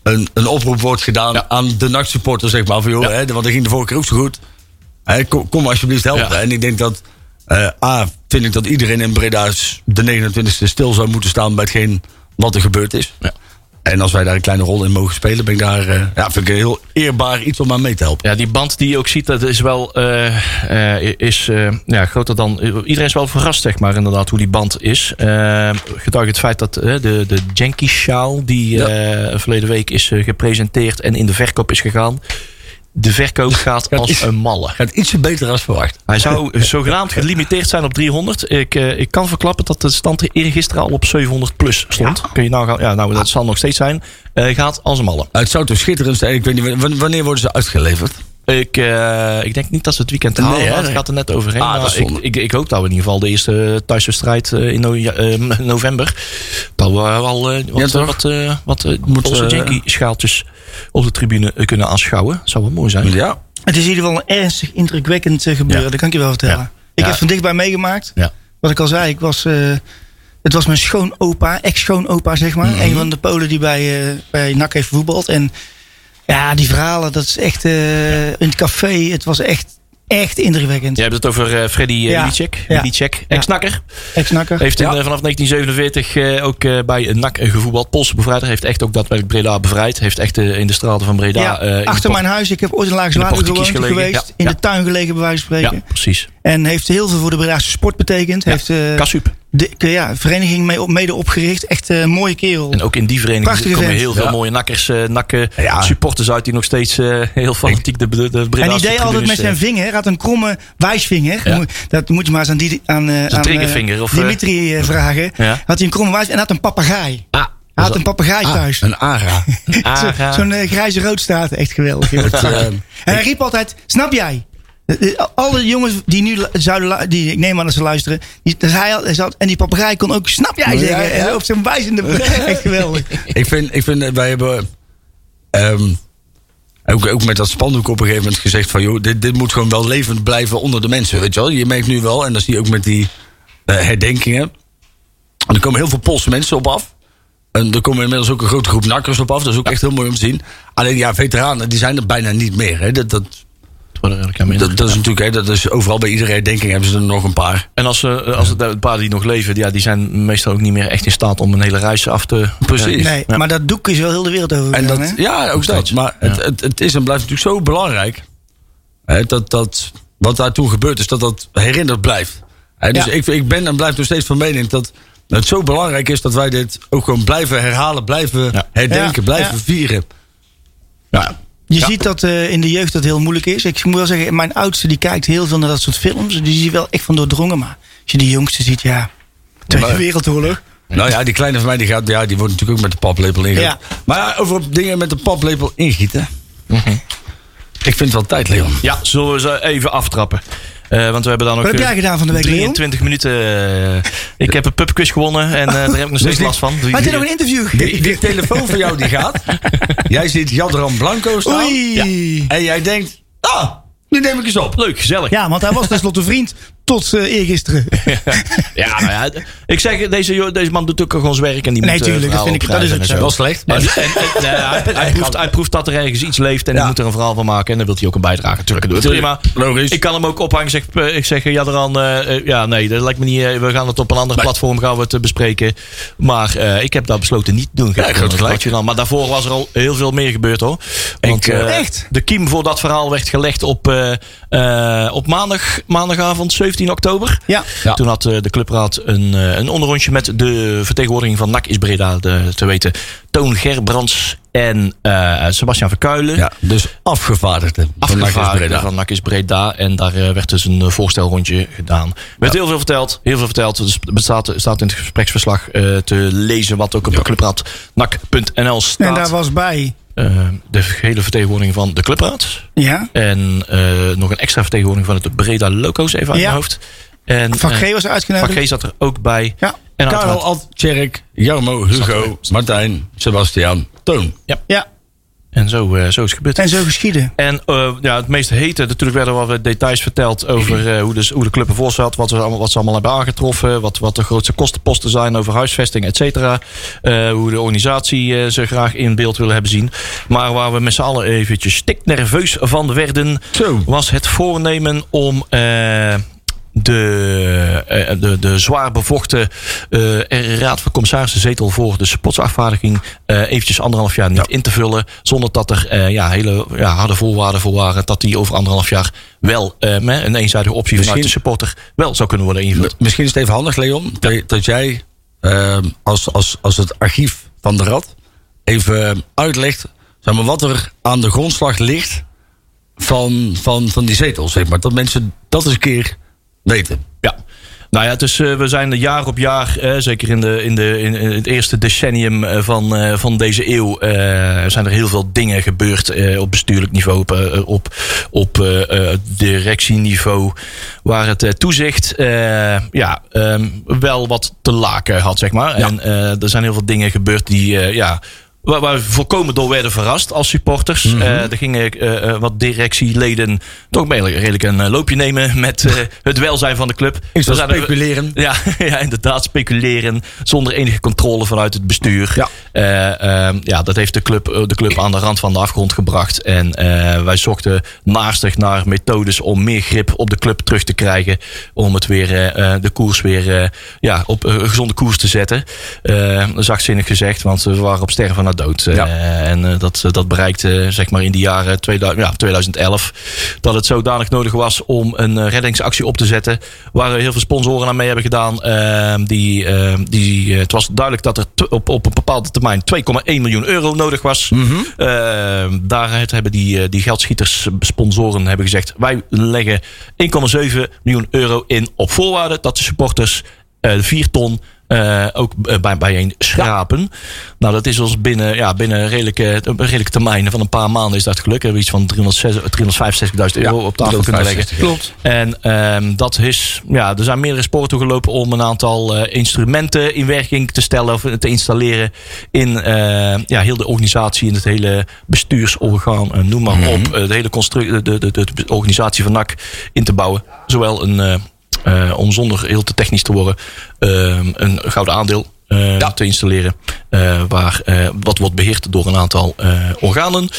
Speaker 2: een, een oproep wordt gedaan aan de NAC-supporters, zeg maar. Van, joh, hè, want dat ging de vorige keer ook zo goed. Hè, kom, kom alsjeblieft helpen.
Speaker 3: Ja.
Speaker 2: En ik denk dat. eh, A, vind ik dat iedereen in Breda de 29e stil zou moeten staan bij hetgeen wat er gebeurd is.
Speaker 3: Ja.
Speaker 2: En als wij daar een kleine rol in mogen spelen, ben ik daar, eh, ja, vind ik een heel eerbaar iets om aan mee te helpen.
Speaker 3: Ja, die band die je ook ziet, dat is wel eh, eh, is, eh, ja, groter dan. Iedereen is wel verrast, zeg maar, inderdaad, hoe die band is. Eh getuige het feit dat eh, de, de Jenky Sjaal, die eh, verleden week is eh, gepresenteerd en in de verkoop is gegaan. de verkoop gaat als een malle.
Speaker 2: Gaat ietsje beter als verwacht.
Speaker 3: Hij zou zogenaamd gelimiteerd zijn op 300. Ik, eh, ik kan verklappen dat de stand eergisteren al op 700 plus stond. Kun je nou gaan, ja, nou, dat zal nog steeds zijn. Eh, gaat als een malle.
Speaker 2: Het zou toch schitterend zijn. Ik weet niet, wan- wanneer worden ze uitgeleverd?
Speaker 3: Ik, eh, ik denk niet dat ze het weekend te halen.
Speaker 2: Nee, hè?
Speaker 3: hadden. het gaat er net overheen.
Speaker 2: Ah, dat
Speaker 3: maar
Speaker 2: is
Speaker 3: ik,
Speaker 2: zonde.
Speaker 3: ik, ik hoop dat we in ieder geval de eerste thuiswedstrijd eh, in no- ja, eh, november. Dat we wel eh, wat,
Speaker 2: toch?
Speaker 3: wat, eh, wat eh,
Speaker 2: Moet,
Speaker 3: Poolse
Speaker 2: eh,
Speaker 3: Yankee schaaltjes op de tribune eh, kunnen aanschouwen. Zou wel mooi zijn.
Speaker 2: Ja.
Speaker 4: Het is in ieder geval een ernstig indrukwekkend eh, gebeuren.
Speaker 3: Ja.
Speaker 4: Dat kan ik je wel vertellen.
Speaker 3: Ja.
Speaker 4: Ik
Speaker 3: Ja.
Speaker 4: heb van dichtbij meegemaakt.
Speaker 3: Ja.
Speaker 4: Wat ik al zei, ik was, eh, het was mijn schoonopa, ex-schoonopa zeg maar.
Speaker 3: Mhm.
Speaker 4: Een van de Polen die bij, eh bij NAC heeft voetbald. En ja, die verhalen, dat is echt eh, in het café. Het was echt, echt indrukwekkend.
Speaker 3: Jij hebt het over eh, Freddy uh,
Speaker 4: Ja. Ja.
Speaker 3: ex-nakker.
Speaker 4: Ex-nakker.
Speaker 3: Heeft in,
Speaker 2: Ja.
Speaker 3: eh, vanaf 1947 eh, ook eh, bij een NAC gevoetbald. Poolse bevrijder. Heeft echt ook daadwerkelijk Breda bevrijd. Heeft echt eh, in de straten van Breda...
Speaker 4: Ja,
Speaker 3: eh, in de
Speaker 4: achter
Speaker 3: port-
Speaker 4: mijn huis. Ik heb ooit
Speaker 3: in
Speaker 4: in
Speaker 3: de
Speaker 4: Laagzwaarden gewoond
Speaker 3: portiekjes gelegen.
Speaker 4: geweest.
Speaker 3: Ja.
Speaker 4: In
Speaker 3: Ja.
Speaker 4: de tuin gelegen bij wijze van spreken.
Speaker 3: Ja, precies.
Speaker 4: En heeft heel veel voor de Bredaarse sport betekend. Heeft eh,
Speaker 3: Kasup.
Speaker 4: de ja, vereniging mee op, mede opgericht. Echt eh, een mooie kerel.
Speaker 3: En ook in die vereniging
Speaker 4: Prachtige
Speaker 3: komen
Speaker 4: vent.
Speaker 3: heel veel
Speaker 2: Ja.
Speaker 3: mooie nakkers, eh nakken,
Speaker 2: Ja.
Speaker 3: supporters uit die nog steeds eh, heel fanatiek de, de, de
Speaker 4: En
Speaker 3: Breda's
Speaker 4: die deed altijd met zijn vinger. Hij had een kromme wijsvinger.
Speaker 3: Ja.
Speaker 4: Moet- Dat moet je maar eens aan, die, aan, eh, aan eh,
Speaker 3: triggervinger, of, eh?
Speaker 4: Dimitri eh, vragen.
Speaker 3: Ja.
Speaker 4: Had hij een kromme wijsvinger en had een papegaai.
Speaker 3: Ah,
Speaker 4: Hij had een papegaai thuis.
Speaker 2: Ah, Een ARA.
Speaker 3: ah,
Speaker 4: Zo- Zo'n eh, grijze roodstaat. Echt geweldig.
Speaker 2: Het, eh,
Speaker 4: En hij riep altijd, snap jij? Eh, eh, Alle jongens die nu lu- zouden, lu- die, ik neem aan dat ze luisteren, die, dat hij, al- hij zat, en die papegaai kon ook, snap jij
Speaker 2: Ja,
Speaker 4: zeggen?
Speaker 2: ja.
Speaker 4: En zo Op zijn wijzende, echt geweldig.
Speaker 2: ik, vind, ik vind, eh, wij hebben ehm, ook, ook met dat spandoek op een gegeven moment gezegd van... joh, dit, dit moet gewoon wel levend blijven onder de mensen, weet je wel. Je merkt nu wel, en dat zie je ook met die eh, herdenkingen... En er komen heel veel Poolse mensen op af. En er komen inmiddels ook een grote groep nakkers op af. Dat is ook echt heel mooi om te zien. Alleen ja, veteranen, die zijn er bijna niet meer. Hè. Dat, dat, dat, dat is natuurlijk, hè, dat is overal bij iedere herdenking hebben ze er nog een paar.
Speaker 3: En als, ze als het, de paar die nog leven, ja, die zijn meestal ook niet meer echt in staat om een hele reis af te...
Speaker 2: Precies.
Speaker 4: Nee, maar dat doek is wel heel de wereld over.
Speaker 2: En
Speaker 4: gegaan,
Speaker 2: dat,
Speaker 4: hè?
Speaker 2: ja, ook dat.
Speaker 3: steeds.
Speaker 2: Maar het, het, het is en blijft natuurlijk zo belangrijk. Hè, dat, dat, wat daar toen gebeurd is, dat dat herinnerd blijft. Hè, dus
Speaker 4: Ja.
Speaker 2: ik, ik ben en blijf nog steeds van mening dat het zo belangrijk is dat wij dit ook gewoon blijven herhalen, blijven
Speaker 3: Ja.
Speaker 2: herdenken,
Speaker 4: Ja,
Speaker 2: blijven
Speaker 4: ja.
Speaker 2: vieren. Ja.
Speaker 4: Je ziet dat eh, in de jeugd dat heel moeilijk is. Ik moet wel zeggen, mijn oudste die kijkt heel veel naar dat soort films. Dus Die zie je wel echt van doordrongen. Maar als je die jongste ziet, ja, Tweede
Speaker 2: Maar-
Speaker 4: Wereldoorlog.
Speaker 2: Nou ja, die kleine van mij die gaat, ja, die wordt natuurlijk ook met de paplepel ingegieten.
Speaker 4: Ja.
Speaker 2: Maar ja, over dingen met de paplepel ingieten. Ik vind het wel tijd, Leon.
Speaker 3: Ja, zullen we ze even aftrappen. Eh, want we hebben dan nog...
Speaker 4: Wat heb jij gedaan van de week, Leon?
Speaker 3: 23 minuten. eh, ik heb een pubquiz gewonnen en eh, daar heb ik nog steeds
Speaker 2: die-
Speaker 3: last van. Die-
Speaker 4: Dus Had je
Speaker 3: die-
Speaker 4: nog een interview?
Speaker 2: Die, die telefoon van jou die gaat. Jij ziet Jadran Blanco staan.
Speaker 4: Oei.
Speaker 2: Ja. En jij denkt, ah, nu neem ik eens op.
Speaker 3: Leuk, gezellig.
Speaker 4: Ja, want hij was tenslotte vriend tot eh eergisteren.
Speaker 3: Ja, nou ja, ik zeg, deze, jo- deze man doet ook gewoon zijn werk en die
Speaker 4: Nee,
Speaker 3: moet... eh,
Speaker 4: tuurlijk, dat
Speaker 3: verhalen
Speaker 4: vind ik- dat is
Speaker 3: opschrijven
Speaker 4: ook
Speaker 3: en
Speaker 4: zo.
Speaker 2: Wel slecht,
Speaker 3: En,
Speaker 2: maar
Speaker 3: en, en, nou ja, hij, hij proeft, hij proeft dat er ergens iets leeft en
Speaker 2: Ja.
Speaker 3: hij moet er een verhaal van maken. En dan wil hij ook een bijdrage natuurlijk doen. Prima.
Speaker 2: Tuurlijk, logisch.
Speaker 3: Ik kan hem ook ophangen. Zeg, eh, ik zeg, eh, ja, dan, ja, nee, dat lijkt me niet. eh, we gaan het op een ander platform gaan we het eh, bespreken. Maar eh, ik heb dat besloten niet te doen.
Speaker 2: Ja, groot gelijk.
Speaker 3: Wat je dan. Maar daarvoor was er al heel veel meer gebeurd hoor. Want,
Speaker 2: Ik, eh,
Speaker 3: eh,
Speaker 4: Echt?
Speaker 3: De kiem voor dat verhaal werd gelegd op, eh, eh, op maandag, maandagavond 17 oktober.
Speaker 4: Ja.
Speaker 2: Ja.
Speaker 3: Toen had eh, de clubraad een, eh, een onderrondje met de vertegenwoordiging van NAC is Breda de- te weten. Toon Gerbrands en eh, Sebastian Verkuilen.
Speaker 2: Ja, dus afgevaardigde.
Speaker 3: Afgevaardigden van NAC is Breda. En daar eh, werd dus een eh, voorstelrondje gedaan. Er werd heel veel verteld. Heel veel verteld. Dus het staat, staat in het gespreksverslag eh, te lezen. Wat ook op clubraadnak.nl staat.
Speaker 4: En daar was bij.
Speaker 3: Eh, de hele vertegenwoordiging van de clubraad.
Speaker 4: Ja.
Speaker 3: En eh, nog een extra vertegenwoordiging van het Breda Loco's even uit
Speaker 4: Ja.
Speaker 3: mijn hoofd. En,
Speaker 4: Van
Speaker 3: eh,
Speaker 4: G was er
Speaker 3: Van
Speaker 4: uitgenodigd.
Speaker 3: G zat er ook bij.
Speaker 4: Ja.
Speaker 3: En
Speaker 2: Karel,
Speaker 3: uiteraard-
Speaker 2: Ad, Tjerk, Jarmo, Hugo, Martijn, Sebastian, Toon.
Speaker 4: Ja.
Speaker 3: En zo, eh, zo is het gebeurd.
Speaker 4: En zo geschieden.
Speaker 3: En eh, ja, het meest hete, natuurlijk werden wel wat details verteld over eh, hoe, de, hoe de club ervoor zat, wat, ze allemaal, wat ze allemaal hebben aangetroffen, wat, wat de grootste kostenposten zijn over huisvesting, et cetera. Eh, hoe de organisatie eh, ze graag in beeld willen hebben zien. Maar waar we met z'n allen eventjes stik nerveus van werden,
Speaker 2: Zo.
Speaker 3: was het voornemen om eh, de, eh, de, de zwaar bevochten eh, Raad van Commissarissen zetel voor de sportsafvaardiging eh, eventjes anderhalf jaar niet in te vullen. Zonder dat er eh, ja, hele ja, harde voorwaarden voor waren dat die over anderhalf jaar wel eh, met een eenzijdige optie vanuit de
Speaker 2: Misschien-
Speaker 3: supporter wel zou kunnen worden ingevuld.
Speaker 2: Misschien is het even handig, Leon, dat, dat jij ehm, als, als, als het archief van de Rad even uitlegt zeg maar, wat er aan de grondslag ligt van, van, van die zetel, zeg maar. Dat mensen dat eens een keer weten.
Speaker 3: Ja. Nou ja, het is, eh, we zijn jaar op jaar, eh, zeker in, de, in, de, in, in het eerste decennium eh, van, eh, van deze eeuw, eh, zijn er heel veel dingen gebeurd eh, op bestuurlijk niveau, op, eh, op, op eh, eh, directieniveau, waar het eh, toezicht eh, ja, ehm, wel wat te laken had, zeg maar. En eh, er zijn heel veel dingen gebeurd die eh, ja, Waar, waar we volkomen door werden verrast als supporters. Eh, er gingen eh, eh, wat directieleden toch wel redelijk een eh, loopje nemen met eh, het welzijn van de club.
Speaker 2: Ik zou
Speaker 3: Er zijn er-
Speaker 2: speculeren.
Speaker 3: ja, ja, inderdaad, speculeren zonder enige controle vanuit het bestuur.
Speaker 2: Ja.
Speaker 3: Eh, ehm, ja, dat heeft de club, eh, de club aan de rand van de afgrond gebracht. En eh, wij zochten naastig naar methodes om meer grip op de club terug te krijgen. Om het weer, eh, eh, de koers weer eh, ja, op eh, een gezonde koers te zetten. Eh, zachtzinnig gezegd, want we waren op sterven na dood. Eh,
Speaker 2: Ja.
Speaker 3: en eh, dat, dat bereikte zeg maar in de jaren 2000, ja, 2011. Dat het zodanig nodig was om een eh, reddingsactie op te zetten. Waar eh, heel veel sponsoren aan mee hebben gedaan. Ehm, die, ehm, die, eh, het was duidelijk dat er t- op, op een bepaalde termijn 2,1 miljoen euro nodig was. Ehm, daaruit hebben die, eh, die geldschieters, eh, sponsoren hebben gezegd. Wij leggen 1,7 miljoen euro in op voorwaarde dat de supporters eh 4 ton eh, ook eh, bij, bijeen schrapen. Nou, dat is ons binnen, ja, binnen een redelijke, een redelijke termijn van een paar maanden is dat gelukt. Hebben we iets van 365 365.000 euro op tafel kunnen leggen.
Speaker 2: 365, ja. Klopt.
Speaker 3: En ehm, dat is, ja, er zijn meerdere sporen toegelopen om een aantal eh, instrumenten in werking te stellen of te installeren in eh, ja, heel de organisatie, in het hele bestuursorgaan, eh, noem maar op, eh, de hele constru- de, de, de, de organisatie van NAC in te bouwen. Zowel een, eh, eh, om zonder heel te technisch te worden, ehm, een gouden aandeel. eh, te installeren. eh, waar, eh, wat wordt beheerd door een aantal eh, organen.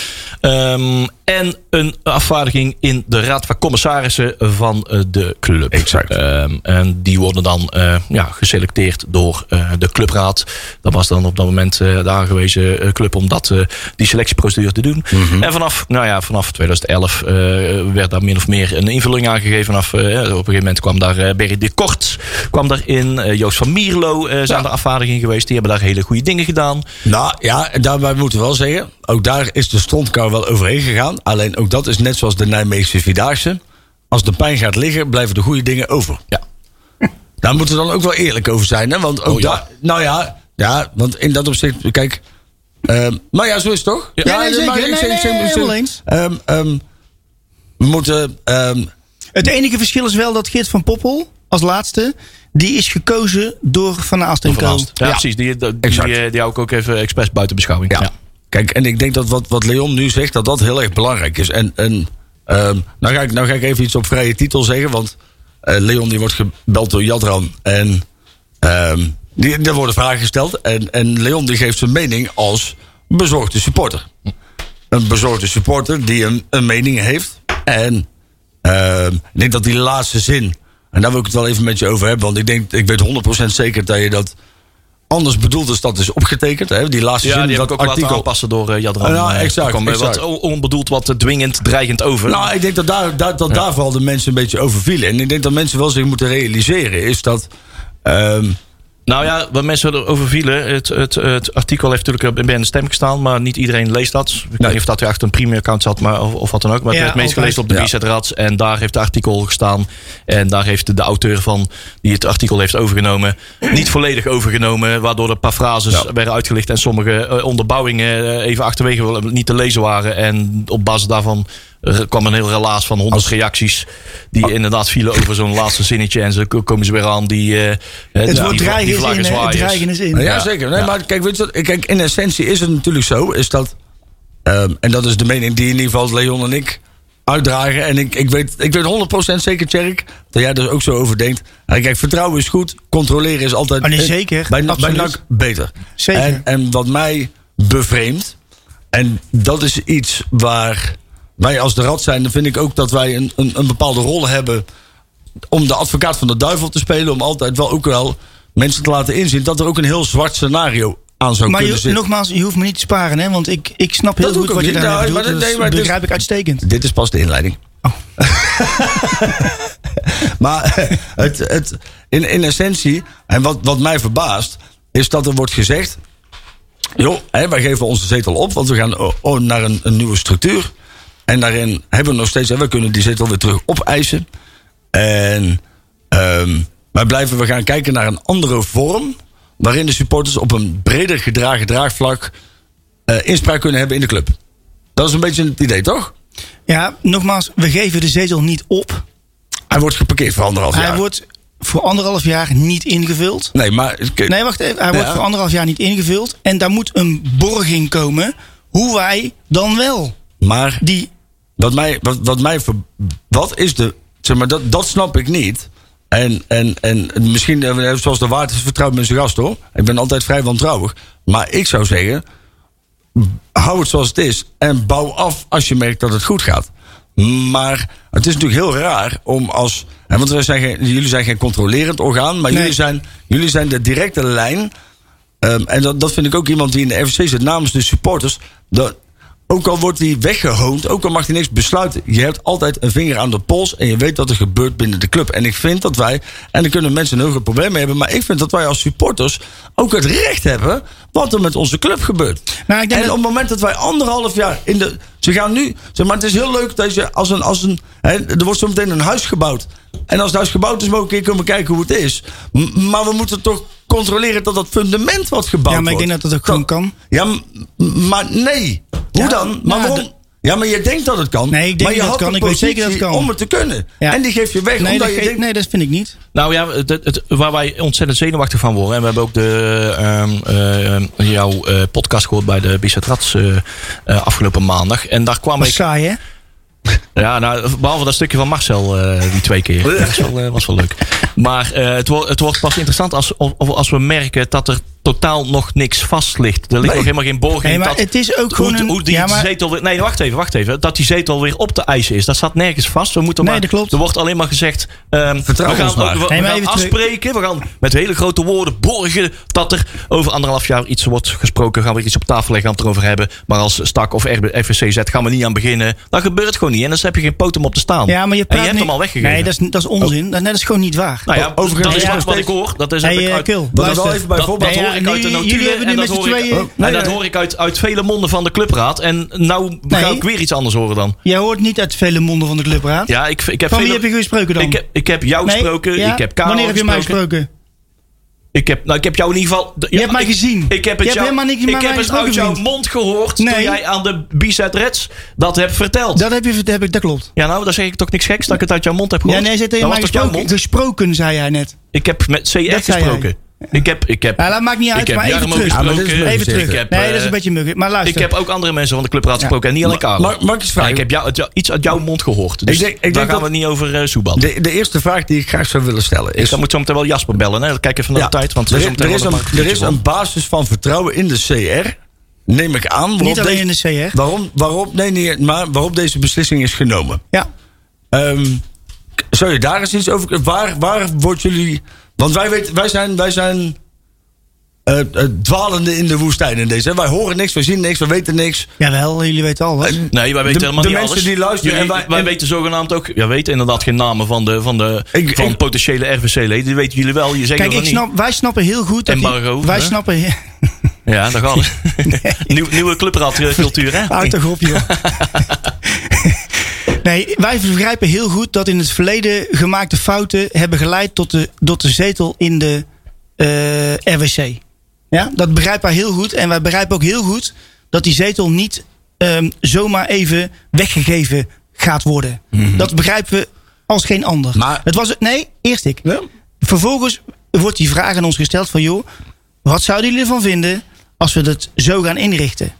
Speaker 3: Ehm, en een afvaardiging in de Raad van Commissarissen van eh, de club.
Speaker 2: Exact.
Speaker 3: Ehm, en die worden dan eh, ja, geselecteerd door eh, de clubraad. Dat was dan op dat moment eh, de aangewezen eh, club om dat, eh, die selectieprocedure te doen.
Speaker 2: Mhm.
Speaker 3: En vanaf, nou ja, vanaf 2011 eh, werd daar min of meer een invulling aan gegeven. Vanaf, eh, op een gegeven moment kwam daar eh Berry de Kort kwam daarin. Eh, Joost van Mierlo eh, zijn de afvaardiging geweest. Die hebben daar hele goede dingen gedaan.
Speaker 2: Nou ja, en daarbij moeten we wel zeggen. Ook daar is de strontkar wel overheen gegaan. Alleen ook dat is net zoals de Nijmeegse Vierdaagse. Als de pijn gaat liggen, blijven de goede dingen over.
Speaker 3: Ja.
Speaker 2: Daar moeten we dan ook wel eerlijk over zijn. Hè? Want ook
Speaker 3: Oh, ja.
Speaker 2: daar- nou ja, ja, want in dat opzicht, kijk. ehm maar ja, zo is het toch?
Speaker 3: Ja.
Speaker 4: nee,
Speaker 2: maar
Speaker 4: zeker.
Speaker 2: ik
Speaker 4: Nee,
Speaker 2: zeg-
Speaker 4: nee,
Speaker 2: zeg- zeg-
Speaker 4: helemaal eens.
Speaker 2: ehm, ehm, we moeten. ehm,
Speaker 4: Het enige verschil is wel dat Geert van Poppel, als laatste, die is gekozen door Van Aalst en Co.
Speaker 3: Ja, precies. Die, die, die,
Speaker 2: Exact.
Speaker 3: eh, die hou ik ook even expres buiten beschouwing.
Speaker 2: Ja. Kijk, en ik denk dat wat, wat Leon nu zegt, dat dat heel erg belangrijk is. En, en ehm, nou, ga ik, nou ga ik even iets op vrije titel zeggen, want eh, Leon die wordt gebeld door Jadran. En ehm, die, er worden vragen gesteld. En, en Leon die geeft zijn mening als bezorgde supporter. Een bezorgde supporter die een, een mening heeft. En ehm, ik denk dat die laatste zin, en daar wil ik het wel even met je over hebben, want ik denk, ik weet 100% zeker dat je dat anders bedoeld is, dat is opgetekend. Hè? Die laatste
Speaker 3: Ja,
Speaker 2: zin,
Speaker 3: die heb
Speaker 2: dat
Speaker 3: ik ook laten
Speaker 2: artikel.
Speaker 3: aanpassen door eh, Jadran.
Speaker 2: Ja,
Speaker 3: Eh,
Speaker 2: exact,
Speaker 3: er kwam, eh,
Speaker 2: exact.
Speaker 3: Wat on- onbedoeld, wat eh, dwingend, dreigend over.
Speaker 2: Nou, ik denk dat, daar, dat, dat daar vooral de mensen een beetje over vielen. En ik denk dat mensen wel zich moeten realiseren, is dat. ehm,
Speaker 3: Nou ja, wat mensen erover vielen. Het, het, het artikel heeft natuurlijk bij een stem gestaan. Maar niet iedereen leest dat. Ik weet
Speaker 2: Nee.
Speaker 3: niet of dat hij achter een premium-account zat. Maar, of, of wat dan ook. Maar het
Speaker 4: Ja,
Speaker 3: werd meest
Speaker 4: altijd.
Speaker 3: gelezen op de
Speaker 2: Ja.
Speaker 3: BZ Rats. En daar heeft het artikel gestaan. En daar heeft de auteur van. die het artikel heeft overgenomen. niet volledig overgenomen. Waardoor er een paar frases
Speaker 2: Ja.
Speaker 3: werden uitgelicht. En sommige eh, onderbouwingen eh, even achterwege wel- niet te lezen waren. En op basis daarvan. eh, kwam een heel relaas van honderd reacties. Die
Speaker 2: Ah.
Speaker 3: inderdaad vielen over zo'n laatste zinnetje. En zo komen ze weer aan. Die, eh,
Speaker 4: Het
Speaker 3: ja,
Speaker 4: woord
Speaker 3: die-
Speaker 4: dreigen
Speaker 3: die
Speaker 4: is
Speaker 3: vlaggen
Speaker 4: in. hè. Het
Speaker 3: zwaaien.
Speaker 4: dreigen is in.
Speaker 2: ja, zeker. Nee, Maar kijk, weet je wat, kijk, in essentie is het natuurlijk zo, is dat. ehm, en dat is de mening die in ieder geval Leon en ik uitdragen. En ik, ik, weet, ik weet 100% zeker, Tjerk, dat jij er ook zo over denkt. En kijk, vertrouwen is goed, controleren is altijd.
Speaker 4: Oh, nee,
Speaker 2: eh,
Speaker 4: zeker,
Speaker 2: Bij, NAC- bij
Speaker 4: absoluut.
Speaker 2: NAC beter.
Speaker 4: Zeker.
Speaker 2: En, en wat mij bevreemdt, en dat is iets waar wij als de rad zijn, dan vind ik ook dat wij een, een, een bepaalde rol hebben om de advocaat van de duivel te spelen. Om altijd wel ook wel mensen te laten inzien dat er ook een heel zwart scenario aan zou
Speaker 4: Maar
Speaker 2: kunnen
Speaker 4: je,
Speaker 2: zitten.
Speaker 4: nogmaals, je hoeft me niet te sparen, hè, want ik, ik snap heel
Speaker 2: dus Dat doe ik
Speaker 4: goed
Speaker 2: ook
Speaker 4: wat je
Speaker 2: niet.
Speaker 4: daar
Speaker 2: Nou,
Speaker 4: bedoelt.
Speaker 2: maar dat-
Speaker 4: Dat
Speaker 2: nee, maar dit-
Speaker 4: begrijp ik uitstekend.
Speaker 2: Dit is pas de inleiding. maar eh, het, het, in, in essentie, en wat, wat mij verbaast, is dat er wordt gezegd... eh, oh, joh, hè, wij geven onze zetel op, want we gaan o- o- naar een, een nieuwe structuur. En daarin hebben we nog steeds, en we kunnen die zetel weer terug opeisen. En ehm wij blijven, we gaan kijken naar een andere vorm. Waarin de supporters op een breder gedragen draagvlak eh, inspraak kunnen hebben in de club. Dat is een beetje het idee, toch?
Speaker 4: Ja, nogmaals, we geven de zetel niet op.
Speaker 2: Hij wordt geparkeerd voor anderhalf jaar.
Speaker 4: Hij wordt voor anderhalf jaar niet ingevuld.
Speaker 2: Nee, maar... ik-
Speaker 4: Nee, wacht even. Hij
Speaker 2: Ja.
Speaker 4: wordt voor anderhalf jaar niet ingevuld. En daar moet een borging komen hoe wij dan wel
Speaker 2: Maar
Speaker 4: die...
Speaker 2: Wat mij, wat, wat mij, ver- wat is de, zeg maar, dat, dat snap ik niet. En, en, en misschien, eh, zoals de waard is vertrouwd met zijn gast hoor. Ik ben altijd vrij wantrouwig. Maar ik zou zeggen, hou het zoals het is. En bouw af als je merkt dat het goed gaat. Maar het is natuurlijk heel raar om als. hè, Want wij zijn geen, jullie zijn geen controlerend orgaan. Maar
Speaker 4: Nee.
Speaker 2: jullie, zijn, jullie zijn de directe lijn. Ehm, en dat, dat vind ik ook iemand die in de FVC zit namens de supporters. Dat, ook al wordt hij weggehoond, ook al mag hij niks besluiten. Je hebt altijd een vinger aan de pols en je weet wat er gebeurt binnen de club. En ik vind dat wij, en daar kunnen mensen een heel groot probleem mee hebben. Maar ik vind dat wij als supporters ook het recht hebben wat er met onze club gebeurt.
Speaker 4: Nou, ik denk
Speaker 2: en
Speaker 4: dat-
Speaker 2: op het moment dat wij anderhalf jaar in de. Ze gaan nu. Zeg maar het is heel leuk dat je als een. Als een hè, er wordt zometeen een huis gebouwd. En als het huis gebouwd is, mogen we een keer komen kijken hoe het is. M- maar we moeten toch controleren dat dat fundament wat gebouwd wordt.
Speaker 4: Ja, maar ik denk dat dat ook gewoon kan.
Speaker 2: Ja, m- maar nee. Hoe
Speaker 4: Ja,
Speaker 2: dan? Maar
Speaker 4: nou,
Speaker 2: waarom?
Speaker 4: de-
Speaker 2: Ja, maar je denkt dat het kan.
Speaker 4: Nee, ik denk
Speaker 2: maar je
Speaker 4: dat
Speaker 2: had
Speaker 4: het kan.
Speaker 2: de
Speaker 4: Ik weet zeker dat het
Speaker 2: positie
Speaker 4: kan.
Speaker 2: om het te kunnen.
Speaker 4: Ja.
Speaker 2: En die geef je weg
Speaker 4: Nee,
Speaker 2: omdat
Speaker 4: dat
Speaker 2: je
Speaker 4: ge-
Speaker 2: denkt...
Speaker 4: nee, dat vind ik niet.
Speaker 3: Nou ja, het, het- waar wij ontzettend zenuwachtig van worden. En we hebben ook de, ehm, ehm, jouw eh, podcast gehoord bij de Bicetrats eh eh, afgelopen maandag. En daar kwam
Speaker 4: Maar
Speaker 3: ik.
Speaker 4: saai,
Speaker 2: Oh.
Speaker 4: hè?
Speaker 3: Ja, nou, behalve dat stukje van Marcel eh, die twee keer. Dat was wel, eh, was wel leuk. Maar eh, het, wordt, het wordt pas interessant als, of- of als we merken dat er totaal nog niks vast ligt. Er ligt nog helemaal geen borg in.
Speaker 4: Nee, maar
Speaker 3: dat,
Speaker 4: het is ook
Speaker 3: hoe,
Speaker 4: gewoon een...
Speaker 3: hoe die
Speaker 4: ja, maar,
Speaker 3: zetel weer, nee, wacht even, wacht even. Dat die zetel weer op te eisen is. Dat staat nergens vast. We moeten
Speaker 4: Nee,
Speaker 3: maar,
Speaker 4: dat klopt.
Speaker 3: Er wordt alleen maar gezegd. ehm,
Speaker 2: Vertrouw
Speaker 3: we gaan,
Speaker 2: ons maar.
Speaker 3: We, we
Speaker 4: Nee, maar
Speaker 3: gaan
Speaker 4: even terug-
Speaker 3: afspreken. We gaan met hele grote woorden borgen dat er over anderhalf jaar iets wordt gesproken. Gaan we iets op tafel leggen, gaan we het erover hebben. Maar als Stak of FVC zet, gaan we niet aan beginnen. Dat gebeurt gewoon niet. En dan heb je geen poot om op te staan.
Speaker 4: ja, maar je,
Speaker 3: en je
Speaker 4: praat
Speaker 3: hebt
Speaker 4: niet-
Speaker 3: hem al weggegeven.
Speaker 4: Nee, dat is, dat is onzin. Dat, nee, dat is gewoon niet waar. Oh.
Speaker 3: nou ja,
Speaker 2: overigens-
Speaker 3: dat is
Speaker 2: Oh. Ja, dus
Speaker 3: wat- wat ik
Speaker 2: steeds-
Speaker 3: hoor. Dat is
Speaker 4: Hey,
Speaker 3: heb ik
Speaker 4: eh,
Speaker 3: uit,
Speaker 4: Kil,
Speaker 2: Dat is wel
Speaker 4: luister.
Speaker 2: even bij
Speaker 3: dat,
Speaker 2: voorbeeld.
Speaker 3: dat
Speaker 4: Nee,
Speaker 3: hoor ik
Speaker 4: ja,
Speaker 3: uit de
Speaker 4: nu-
Speaker 3: notulen
Speaker 4: jullie hebben
Speaker 3: en
Speaker 4: nu
Speaker 3: dat
Speaker 4: met z'n
Speaker 3: hoor ik-
Speaker 4: tweeën-
Speaker 3: en dat hoor ik uit, uit vele monden van de clubraad. En nou
Speaker 4: Nee.
Speaker 3: ga ik weer iets anders horen dan.
Speaker 4: Jij hoort niet uit vele monden van de clubraad.
Speaker 3: Ja, ik, ik heb
Speaker 4: Van wie
Speaker 3: vele-
Speaker 4: heb je gesproken dan?
Speaker 3: Ik heb, ik heb jou
Speaker 4: Nee?
Speaker 3: gesproken,
Speaker 4: Ja?
Speaker 3: ik heb Karel
Speaker 4: Wanneer heb je mij gesproken?
Speaker 3: Ik heb, nou, ik heb jou in ieder geval...
Speaker 4: Je hebt mij
Speaker 3: ik-
Speaker 4: gezien.
Speaker 3: Ik heb
Speaker 4: Je
Speaker 3: het,
Speaker 4: hebt
Speaker 3: jou-
Speaker 4: helemaal niks met
Speaker 3: ik
Speaker 4: mij
Speaker 3: heb het
Speaker 4: gesproken,
Speaker 3: uit jouw
Speaker 4: vriend.
Speaker 3: mond gehoord toen
Speaker 4: Nee.
Speaker 3: jij aan de Bizet Reds dat hebt verteld.
Speaker 4: Dat heb je heb ik, dat klopt.
Speaker 3: Ja, nou, dan zeg ik toch niks geks dat ik het uit jouw mond heb
Speaker 4: Ja,
Speaker 3: gehoord.
Speaker 4: nee, hij zei tegen
Speaker 3: dat
Speaker 4: mij
Speaker 3: was toch jouw
Speaker 4: gesproken,
Speaker 3: mond?
Speaker 4: gesproken, zei hij net.
Speaker 3: Ik heb met CR
Speaker 4: Dat zei
Speaker 3: gesproken. Ik heb... Ik heb
Speaker 4: Ja, dat maakt niet uit,
Speaker 3: ik heb
Speaker 4: maar even
Speaker 3: Jarmo
Speaker 4: terug.
Speaker 3: gesproken.
Speaker 2: Ja, maar dit is
Speaker 4: Even
Speaker 2: Even
Speaker 4: terug.
Speaker 3: Ik heb,
Speaker 4: nee, dat is
Speaker 3: eh,
Speaker 4: een beetje muggig. Maar luister.
Speaker 3: Ik heb ook andere mensen van de clubraad gesproken en niet alleen Karel.
Speaker 2: mag- mag ik eens vragen?
Speaker 3: En Ik heb jou, het- jou- iets uit jouw mond gehoord. Dus
Speaker 2: Ik denk- ik
Speaker 3: daar
Speaker 2: denk
Speaker 3: gaan
Speaker 2: dat-
Speaker 3: we het niet over eh Soeban.
Speaker 2: De, de eerste vraag die ik graag zou willen stellen is...
Speaker 3: Ik moet zo meteen wel Jasper bellen. Hè. Kijk even naar de tijd. Want
Speaker 2: er,
Speaker 3: zo
Speaker 2: is-
Speaker 3: meteen
Speaker 2: er is
Speaker 3: wel
Speaker 2: een,
Speaker 3: nog maar
Speaker 2: er is een basis van vertrouwen in de CR. Neem ik aan. waarop
Speaker 4: Niet alleen
Speaker 2: deze-
Speaker 4: in de CR.
Speaker 2: Waarom, waarop, nee, nee, maar waarop deze beslissing is genomen.
Speaker 4: Ja.
Speaker 2: Ehm, k- zou je daar eens iets over... Waar, waar wordt jullie... Want wij, weten, wij zijn, wij zijn eh, eh, dwalende in de woestijn in deze. hè. Wij horen niks, wij zien niks, we weten niks.
Speaker 4: Jawel, jullie weten alles.
Speaker 3: Nee, wij weten
Speaker 2: De-
Speaker 3: helemaal
Speaker 2: de
Speaker 3: niet
Speaker 2: mensen
Speaker 3: alles.
Speaker 2: die luisteren
Speaker 3: Jullie-
Speaker 2: en wij- en-
Speaker 3: weten zogenaamd ook... Ja, weten inderdaad geen namen van, de, van, de,
Speaker 2: Ik-
Speaker 3: van
Speaker 2: ik-
Speaker 3: potentiële RVC-leden. Die weten jullie wel. Je zegt
Speaker 4: Kijk,
Speaker 3: dat
Speaker 4: ik
Speaker 3: niet.
Speaker 4: snap, wij snappen heel goed. dat die-
Speaker 3: Embargo,
Speaker 4: wij
Speaker 3: hè?
Speaker 4: snappen.
Speaker 3: Ja, daar gaan we. Nieuw- nieuwe clubraadcultuur, hè?
Speaker 4: Houd toch op, joh. Nee, wij begrijpen heel goed dat in het verleden gemaakte fouten hebben geleid tot de, tot de zetel in de eh, RWC. Ja, dat begrijpen wij heel goed. En wij begrijpen ook heel goed dat die zetel niet ehm, zomaar even weggegeven gaat worden. Dat begrijpen we als geen ander.
Speaker 2: Maar-
Speaker 4: het was, nee, eerst ik. Vervolgens wordt die vraag aan ons gesteld van... joh, wat zouden jullie ervan vinden als we dat zo gaan inrichten?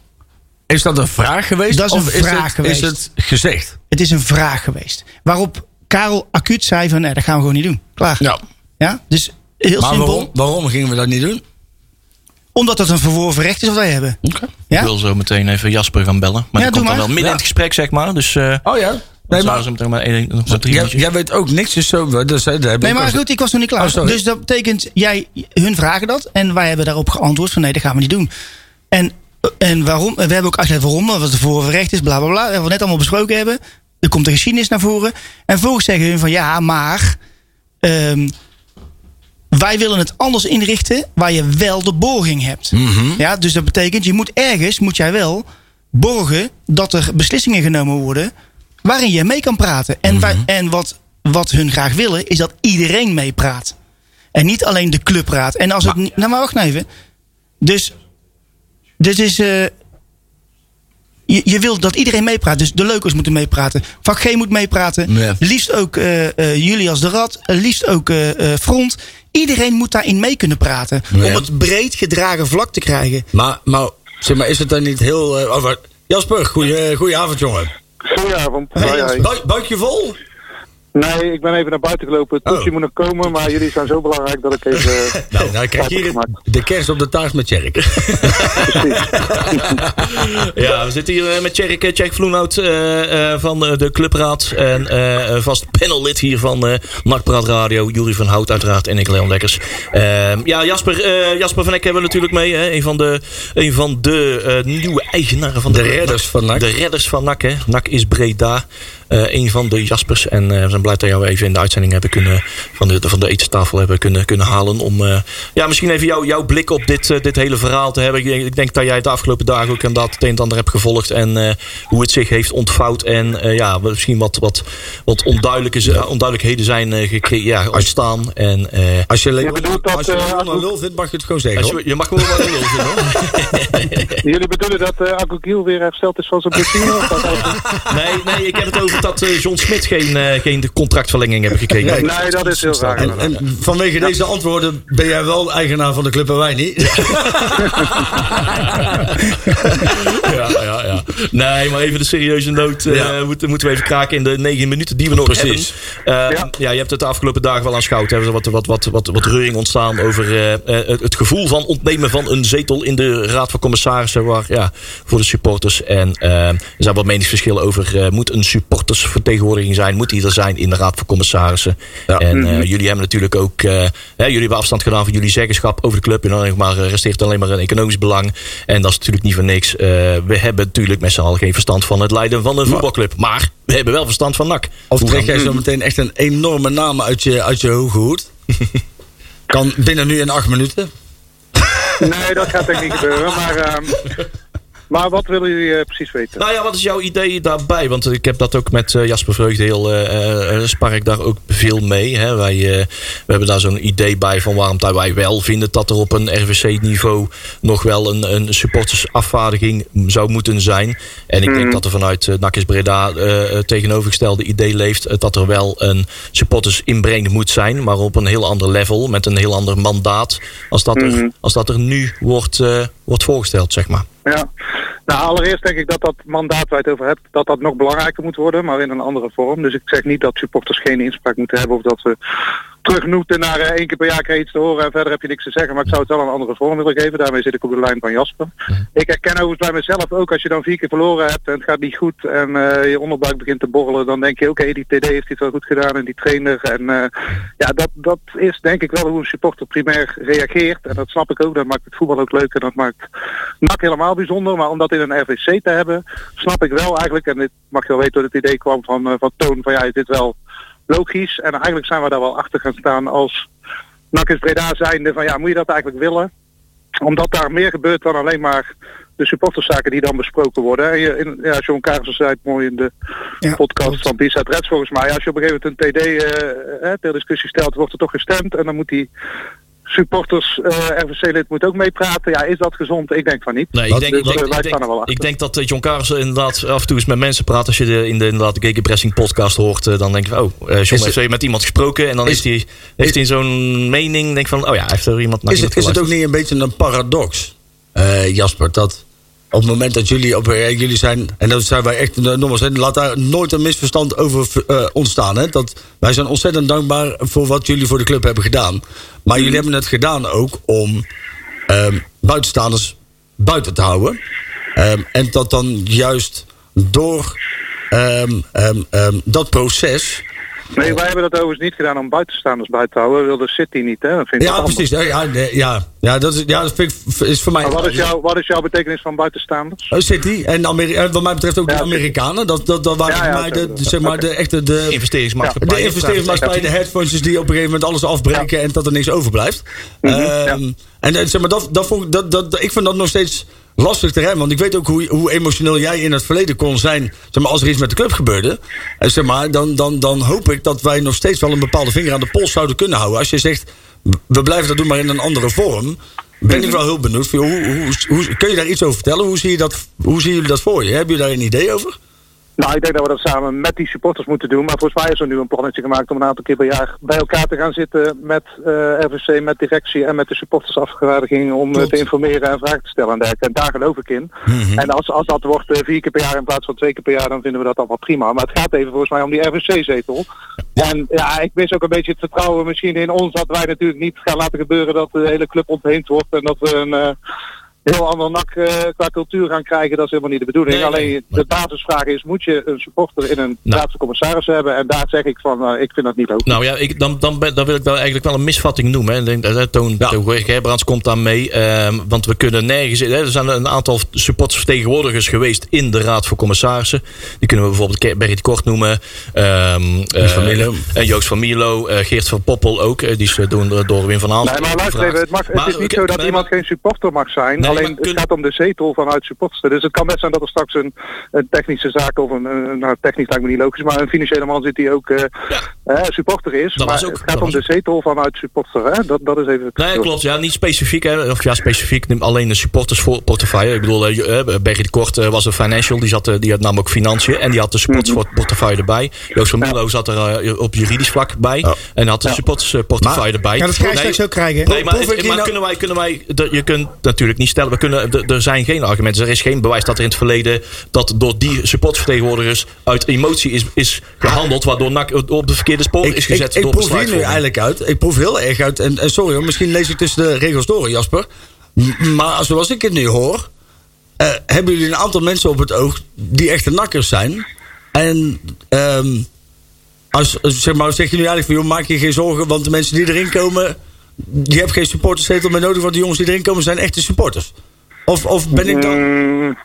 Speaker 2: Is dat een vraag geweest?
Speaker 4: Dat is een
Speaker 2: of
Speaker 4: vraag
Speaker 2: is het,
Speaker 4: geweest.
Speaker 2: Is het gezegd?
Speaker 4: Het is een vraag geweest. Waarop Karel acuut zei van, nee, dat gaan we gewoon niet doen. Klaar.
Speaker 2: Ja.
Speaker 4: Ja? Dus heel
Speaker 2: Maar
Speaker 4: simpel.
Speaker 2: waarom, waarom gingen we dat niet doen?
Speaker 4: Omdat dat een verworven recht is wat wij hebben.
Speaker 3: Ik
Speaker 4: Ja?
Speaker 3: wil zo meteen even Jasper gaan bellen. Maar
Speaker 4: Ja,
Speaker 3: die komt
Speaker 4: doe
Speaker 3: dan
Speaker 4: maar.
Speaker 3: wel midden in het gesprek, zeg maar. Dus eh
Speaker 2: Oh ja?
Speaker 3: nee,
Speaker 2: Nee, maar,
Speaker 3: zo meteen maar één, nog maar drie
Speaker 2: jij,
Speaker 3: minuutjes.
Speaker 2: jij weet ook niks. Dus zo, dus, hè, daar heb
Speaker 4: Nee,
Speaker 2: ik
Speaker 4: maar
Speaker 2: ook-
Speaker 4: goed, ik was nog niet
Speaker 2: Oh,
Speaker 4: klaar.
Speaker 2: sorry.
Speaker 4: dus dat betekent, jij, hun vragen dat. En wij hebben daarop geantwoord van, nee, dat gaan we niet doen. En, en waarom? We hebben ook uitgelegd waarom. Wat het verworven recht is, bla, bla, bla. Wat we net allemaal besproken hebben. Er komt de geschiedenis naar voren. En vervolgens zeggen hun van, ja, maar... ehm, wij willen het anders inrichten waar je wel de borging hebt. ja, dus dat betekent, je moet ergens, moet jij wel borgen dat er beslissingen genomen worden waarin jij mee kan praten. En, waar- en wat, wat hun graag willen is dat iedereen meepraat. En niet alleen de clubraad. En als het niet. Nou, maar wacht nou even. Dus. Dit is. eh, je, je wilt dat iedereen meepraat. Dus de leukers moeten meepraten. Vak G moet meepraten.
Speaker 2: Ja.
Speaker 4: Liefst ook eh, eh, jullie als de Rad. eh, liefst ook eh, eh, Front. Iedereen moet daarin mee kunnen praten.
Speaker 2: Ja.
Speaker 4: Om het breed gedragen vlak te krijgen.
Speaker 2: Maar, maar, zeg maar, is het dan niet heel... eh, oh, wat- Jasper, goeie, eh, goeie avond, jongen.
Speaker 6: Goedenavond.
Speaker 4: Hey,
Speaker 6: Hoi, hoi.
Speaker 2: Buik- buikje vol?
Speaker 6: Nee, ik ben even naar buiten gelopen.
Speaker 2: Oh.
Speaker 6: Toetsie moet nog komen, maar jullie zijn zo belangrijk dat ik even... eh,
Speaker 2: Nou, dan krijg je hier
Speaker 6: Gemaakt.
Speaker 2: de kerst op de taart met Jerk.
Speaker 3: Ja, we zitten hier eh, met Tjerk, eh, Tjerk Vloenhout eh, eh, van eh, de Clubraad. En eh, eh, vast panellid hier van eh Nakpraat Radio. Jury van Hout uiteraard en ik, Leon Lekkers. Ehm, ja, Jasper, eh, Jasper van Eck hebben we natuurlijk mee. Hè? Een van de, een van de eh, nieuwe eigenaren van de,
Speaker 2: De redders van NAC.
Speaker 3: De redders van NAC, hè. NAC is Breda. Eh een van de Jaspers. En eh, we zijn blij dat we jou even in de uitzending hebben kunnen... van de, van de etenstafel hebben kunnen, kunnen halen. Om eh, ja, misschien even jou, jouw blik op dit, eh, dit hele verhaal te hebben. Ik denk, ik denk dat jij de afgelopen dagen ook inderdaad het een en ander hebt gevolgd. En eh, hoe het zich heeft ontvouwd. En eh, ja, wat- misschien wat, wat, wat onduidelijke, z- onduidelijkheden zijn eh gecreë- ja, ontstaan. En, eh,
Speaker 2: Als je,
Speaker 6: Je bedoelt dat,
Speaker 2: als je
Speaker 6: eh,
Speaker 2: Leon
Speaker 6: als-
Speaker 2: een lul vindt, mag je het gewoon zeggen.
Speaker 3: als
Speaker 2: hoor.
Speaker 3: je, je mag wel wat willen hoor.
Speaker 6: jullie bedoelen dat eh Agogiel weer hersteld is van zijn blessure? Of dat
Speaker 3: Nee, nee, ik heb het over dat eh, John Smit geen, eh, geen contractverlenging hebben gekregen.
Speaker 2: Nee,
Speaker 6: nee, dat is heel raar.
Speaker 2: En, en vanwege deze antwoorden ben jij wel eigenaar van de club en wij niet.
Speaker 3: ja, ja, ja. Nee, maar even de serieuze noot. eh,
Speaker 2: Ja.
Speaker 3: moeten, moeten we even kraken in de negen minuten die we nog
Speaker 2: Precies.
Speaker 3: hebben. Eh, ja.
Speaker 6: Ja.
Speaker 3: je hebt het de afgelopen dagen wel aanschouwd. Er is wat, wat, wat, wat, wat reuring ontstaan over eh, eh, het, het gevoel van ontnemen van een zetel in de Raad van Commissarissen. Waar, ja, voor de supporters. En eh, er zijn wat meningsverschillen over. eh, moet een supportersvertegenwoordiging zijn? Moet die er zijn in de Raad van Commissarissen? En eh, jullie hebben natuurlijk ook. eh, hè, jullie hebben afstand gedaan van jullie zeggenschap over de club. En dan zeg maar, eh, resteert alleen maar een economisch belang. En dat is natuurlijk niet voor niks. Eh, we hebben natuurlijk met z'n allen geen verstand van het leiden van een voetbalclub. Maar we hebben wel verstand van NAC.
Speaker 2: Of
Speaker 3: Hoe
Speaker 2: trek
Speaker 3: gaan-
Speaker 2: jij zo meteen echt een enorme naam uit je, uit je hoge hoed? Kan binnen nu in acht minuten.
Speaker 6: Nee, dat gaat denk ik niet gebeuren. Maar, ehm, maar wat willen jullie eh, precies weten?
Speaker 3: Nou ja, wat is jouw idee daarbij? Want ik heb dat ook met eh, Jasper Vreugdeel, eh eh, spar ik daar ook veel mee. Hè? Wij eh, we hebben daar zo'n idee bij van waarom dat wij wel vinden dat er op een RVC-niveau nog wel een, een supportersafvaardiging zou moeten zijn. En ik denk dat er vanuit eh, NAC is Breda eh, het tegenovergestelde idee leeft eh, dat er wel een supporters inbreng moet zijn, maar op een heel ander level, met een heel ander mandaat, als dat, er, als dat er nu wordt, eh, wordt voorgesteld, zeg maar.
Speaker 6: Ja. Nou, allereerst denk ik dat dat mandaat waar je het over hebt, dat dat nog belangrijker moet worden, maar in een andere vorm. Dus ik zeg niet dat supporters geen inspraak moeten hebben of dat we terug moeten naar eh, één keer per jaar krijg je iets te horen en verder heb je niks te zeggen. Maar ik zou het wel een andere vorm willen geven. Daarmee zit ik op de lijn van Jasper. Ik herken overigens bij mezelf ook, als je dan vier keer verloren hebt en het gaat niet goed en eh, je onderbuik begint te borrelen, dan denk je oké, die TD heeft iets wel goed gedaan en die trainer. En eh, ja, dat, dat is denk ik wel hoe een supporter primair reageert. En dat snap ik ook, dat maakt het voetbal ook leuk en dat maakt NAC helemaal bijzonder. Maar om dat in een RVC te hebben, snap ik wel eigenlijk, en dit mag je wel weten dat het idee kwam van, eh, van Toon, van ja, is dit wel logisch? En eigenlijk zijn we daar wel achter gaan staan als NAC is Breda zijnde van ja, moet je dat eigenlijk willen? Omdat daar meer gebeurt dan alleen maar de supporterszaken die dan besproken worden. En je- in, ja, John Kaarsen zei het mooi in de
Speaker 4: Ja,
Speaker 6: podcast van Bisa Reds volgens mij. Als je op een gegeven moment een TD eh, eh, ter discussie stelt, wordt er toch gestemd. En dan moet die supporters, eh, RVC-lid moet ook meepraten. Ja, is dat gezond? Ik denk van niet.
Speaker 3: Nee, ik
Speaker 2: Wat-
Speaker 3: denk, ik,
Speaker 6: dus,
Speaker 3: denk,
Speaker 6: eh, wij
Speaker 3: ik,
Speaker 6: staan er wel
Speaker 3: denk,
Speaker 6: achter.
Speaker 3: ik denk dat eh, John Carlos inderdaad af en toe eens met mensen praat. Als je de, in de inderdaad, Gegenpressing podcast hoort, eh, dan denk je van, oh, eh, John heeft met iemand gesproken. En dan heeft hij, heeft hij zo'n mening. denk van, oh ja, hij heeft er iemand naar
Speaker 2: Is het,
Speaker 3: iemand
Speaker 2: is het ook
Speaker 3: geluisterd.
Speaker 2: niet een beetje een paradox, eh, Jasper? Dat op het moment dat jullie op eh, jullie zijn, en dat zijn wij echt, eh, nogmaals, hè, laat daar nooit een misverstand over eh, ontstaan. Hè? Dat, wij zijn ontzettend dankbaar voor wat jullie voor de club hebben gedaan. Maar jullie hebben het gedaan ook om ehm, buitenstaanders buiten te houden. Ehm, en dat dan juist door ehm, ehm, ehm, dat proces.
Speaker 6: Nee, wij hebben dat overigens niet gedaan om buitenstaanders buiten te houden. We wilden City niet, hè? Dat vind ik
Speaker 2: Ja,
Speaker 6: allemaal.
Speaker 2: precies. hè, Ja, nee, ja, ja, dat is, ja, dat vind ik, is voor mij.
Speaker 6: Maar wat is, jouw, wat is jouw betekenis van buitenstaanders?
Speaker 2: Oh, City en Ameri- eh, wat mij betreft ook
Speaker 6: Ja,
Speaker 2: de
Speaker 6: City.
Speaker 2: Amerikanen. Dat, dat, dat waren
Speaker 6: Ja,
Speaker 2: voor
Speaker 6: ja,
Speaker 2: mij
Speaker 6: oké,
Speaker 2: de,
Speaker 6: dat-
Speaker 2: zeg maar, de echte de,
Speaker 3: investeringsmaatschappij.
Speaker 2: de investeringsmaatschappij, de headphones die op een gegeven moment alles afbreken en dat er niks overblijft. Ehm,
Speaker 6: ja.
Speaker 2: En eh, zeg maar, dat, dat, vond ik- dat, dat, dat- ik vind dat nog steeds lastig terrein. Want ik weet ook hoe, hoe emotioneel jij in het verleden kon zijn. Zeg maar, als er iets met de club gebeurde. Eh, Zeg maar, dan, dan, dan hoop ik dat wij nog steeds wel een bepaalde vinger aan de pols zouden kunnen houden. Als je zegt, we blijven dat doen, maar in een andere vorm. Ben ik wel heel benieuwd. van, Hoe, hoe, hoe- kun je daar iets over vertellen? Hoe, zie je dat, hoe zien jullie dat voor je? Hebben jullie daar een idee over?
Speaker 6: Nou, ik denk dat we dat samen met die supporters moeten doen. Maar volgens mij is er nu een plannetje gemaakt om een aantal keer per jaar bij elkaar te gaan zitten met eh RVC, met directie en met de supportersafgevaardiging om eh, te informeren en vragen te stellen en dergelijke. En daar geloof ik in. En als, als dat wordt eh, vier keer per jaar in plaats van twee keer per jaar, dan vinden we dat allemaal prima. Maar het gaat even volgens mij om die RVC-zetel. En ja, ik mis ook een beetje het vertrouwen misschien in ons dat wij natuurlijk niet gaan laten gebeuren dat de hele club ontheemd wordt en dat we een... eh, heel ander nak eh, qua cultuur gaan krijgen, dat is helemaal niet de bedoeling.
Speaker 3: Nee,
Speaker 6: Alleen
Speaker 3: nee.
Speaker 6: de basisvraag is, moet je een supporter in een
Speaker 3: Nou.
Speaker 6: raadse commissaris hebben? En daar zeg ik van, eh, ik vind dat niet ook.
Speaker 3: Nou ja, ik, dan, dan, ben- dan wil ik wel eigenlijk wel een misvatting noemen. Hè. Ik denk dat- dat Toon
Speaker 2: Ja.
Speaker 3: Toon Gerbrands komt daar mee. ehm, want we kunnen nergens... Hè, er zijn een aantal supportersvertegenwoordigers geweest in de Raad voor Commissarissen. Die kunnen we bijvoorbeeld Ke- Berrit Kort noemen. ehm, eh,
Speaker 2: van Mierlo.
Speaker 3: en Joost van Mierlo. eh, Geert van Poppel ook. eh, die is eh, door, door Wim van Aanstel
Speaker 6: Nee, maar luister
Speaker 3: gevraagd.
Speaker 6: even, het, mag, het
Speaker 3: Maar
Speaker 6: is
Speaker 3: we
Speaker 6: niet
Speaker 3: kun-
Speaker 6: zo dat
Speaker 3: nee,
Speaker 6: iemand
Speaker 3: maar-
Speaker 6: geen supporter mag zijn.
Speaker 3: Nee, maar
Speaker 6: alleen
Speaker 3: kun-
Speaker 6: het gaat om de zetel vanuit supporters. Dus het kan best zijn dat er straks een, een technische zaak of een, een- nou technisch lijkt me niet logisch, maar een financiële man zit die ook eh, eh, supporter is.
Speaker 3: Dat
Speaker 6: maar
Speaker 3: was ook-
Speaker 6: het
Speaker 3: dat
Speaker 6: gaat om
Speaker 3: was
Speaker 6: de zetel vanuit supporter. Hè? Dat, dat is even het
Speaker 3: Nee,
Speaker 6: verschil.
Speaker 3: klopt. Ja, niet specifiek. Hè. Of ja, specifiek. Neem alleen de supportersportefeuille. Ik bedoel, eh, eh, Bergit Kort eh, was een financial. Die, zat, eh, die had nam ook financiën. En die had de supportersportefeuille erbij. Joost van Milo zat er eh, op juridisch vlak bij. En had de supportersportefeuille erbij.
Speaker 4: Ja, dat ga je straks ook krijgen.
Speaker 3: Nee, maar,
Speaker 2: Proef ik
Speaker 3: het-
Speaker 2: hier
Speaker 3: maar
Speaker 2: nou-
Speaker 3: kunnen wij, kunnen wij de- je kunt natuurlijk niet stellen, we kunnen, de- er zijn geen argumenten. Er is geen bewijs dat er in het verleden dat door die supportvertegenwoordigers uit emotie is, is gehandeld, waardoor NAC op de verkeerde spoor is gezet
Speaker 2: ik
Speaker 3: door
Speaker 2: proef hier nu
Speaker 3: besluitvorming.
Speaker 2: eigenlijk uit. Ik proef heel erg uit. En, en sorry hoor, misschien lees ik tussen de regels door, Jasper. M- Maar zoals ik het nu hoor, eh, hebben jullie een aantal mensen op het oog die echte nakkers zijn. En ehm, als, als- zeg maar, zeg je nu eigenlijk van, joh, maak je geen zorgen, want de mensen die erin komen, die hebben geen supporterszetel meer nodig, want de jongens die erin komen zijn echte supporters. Of, of ben ik dan...
Speaker 6: Mm,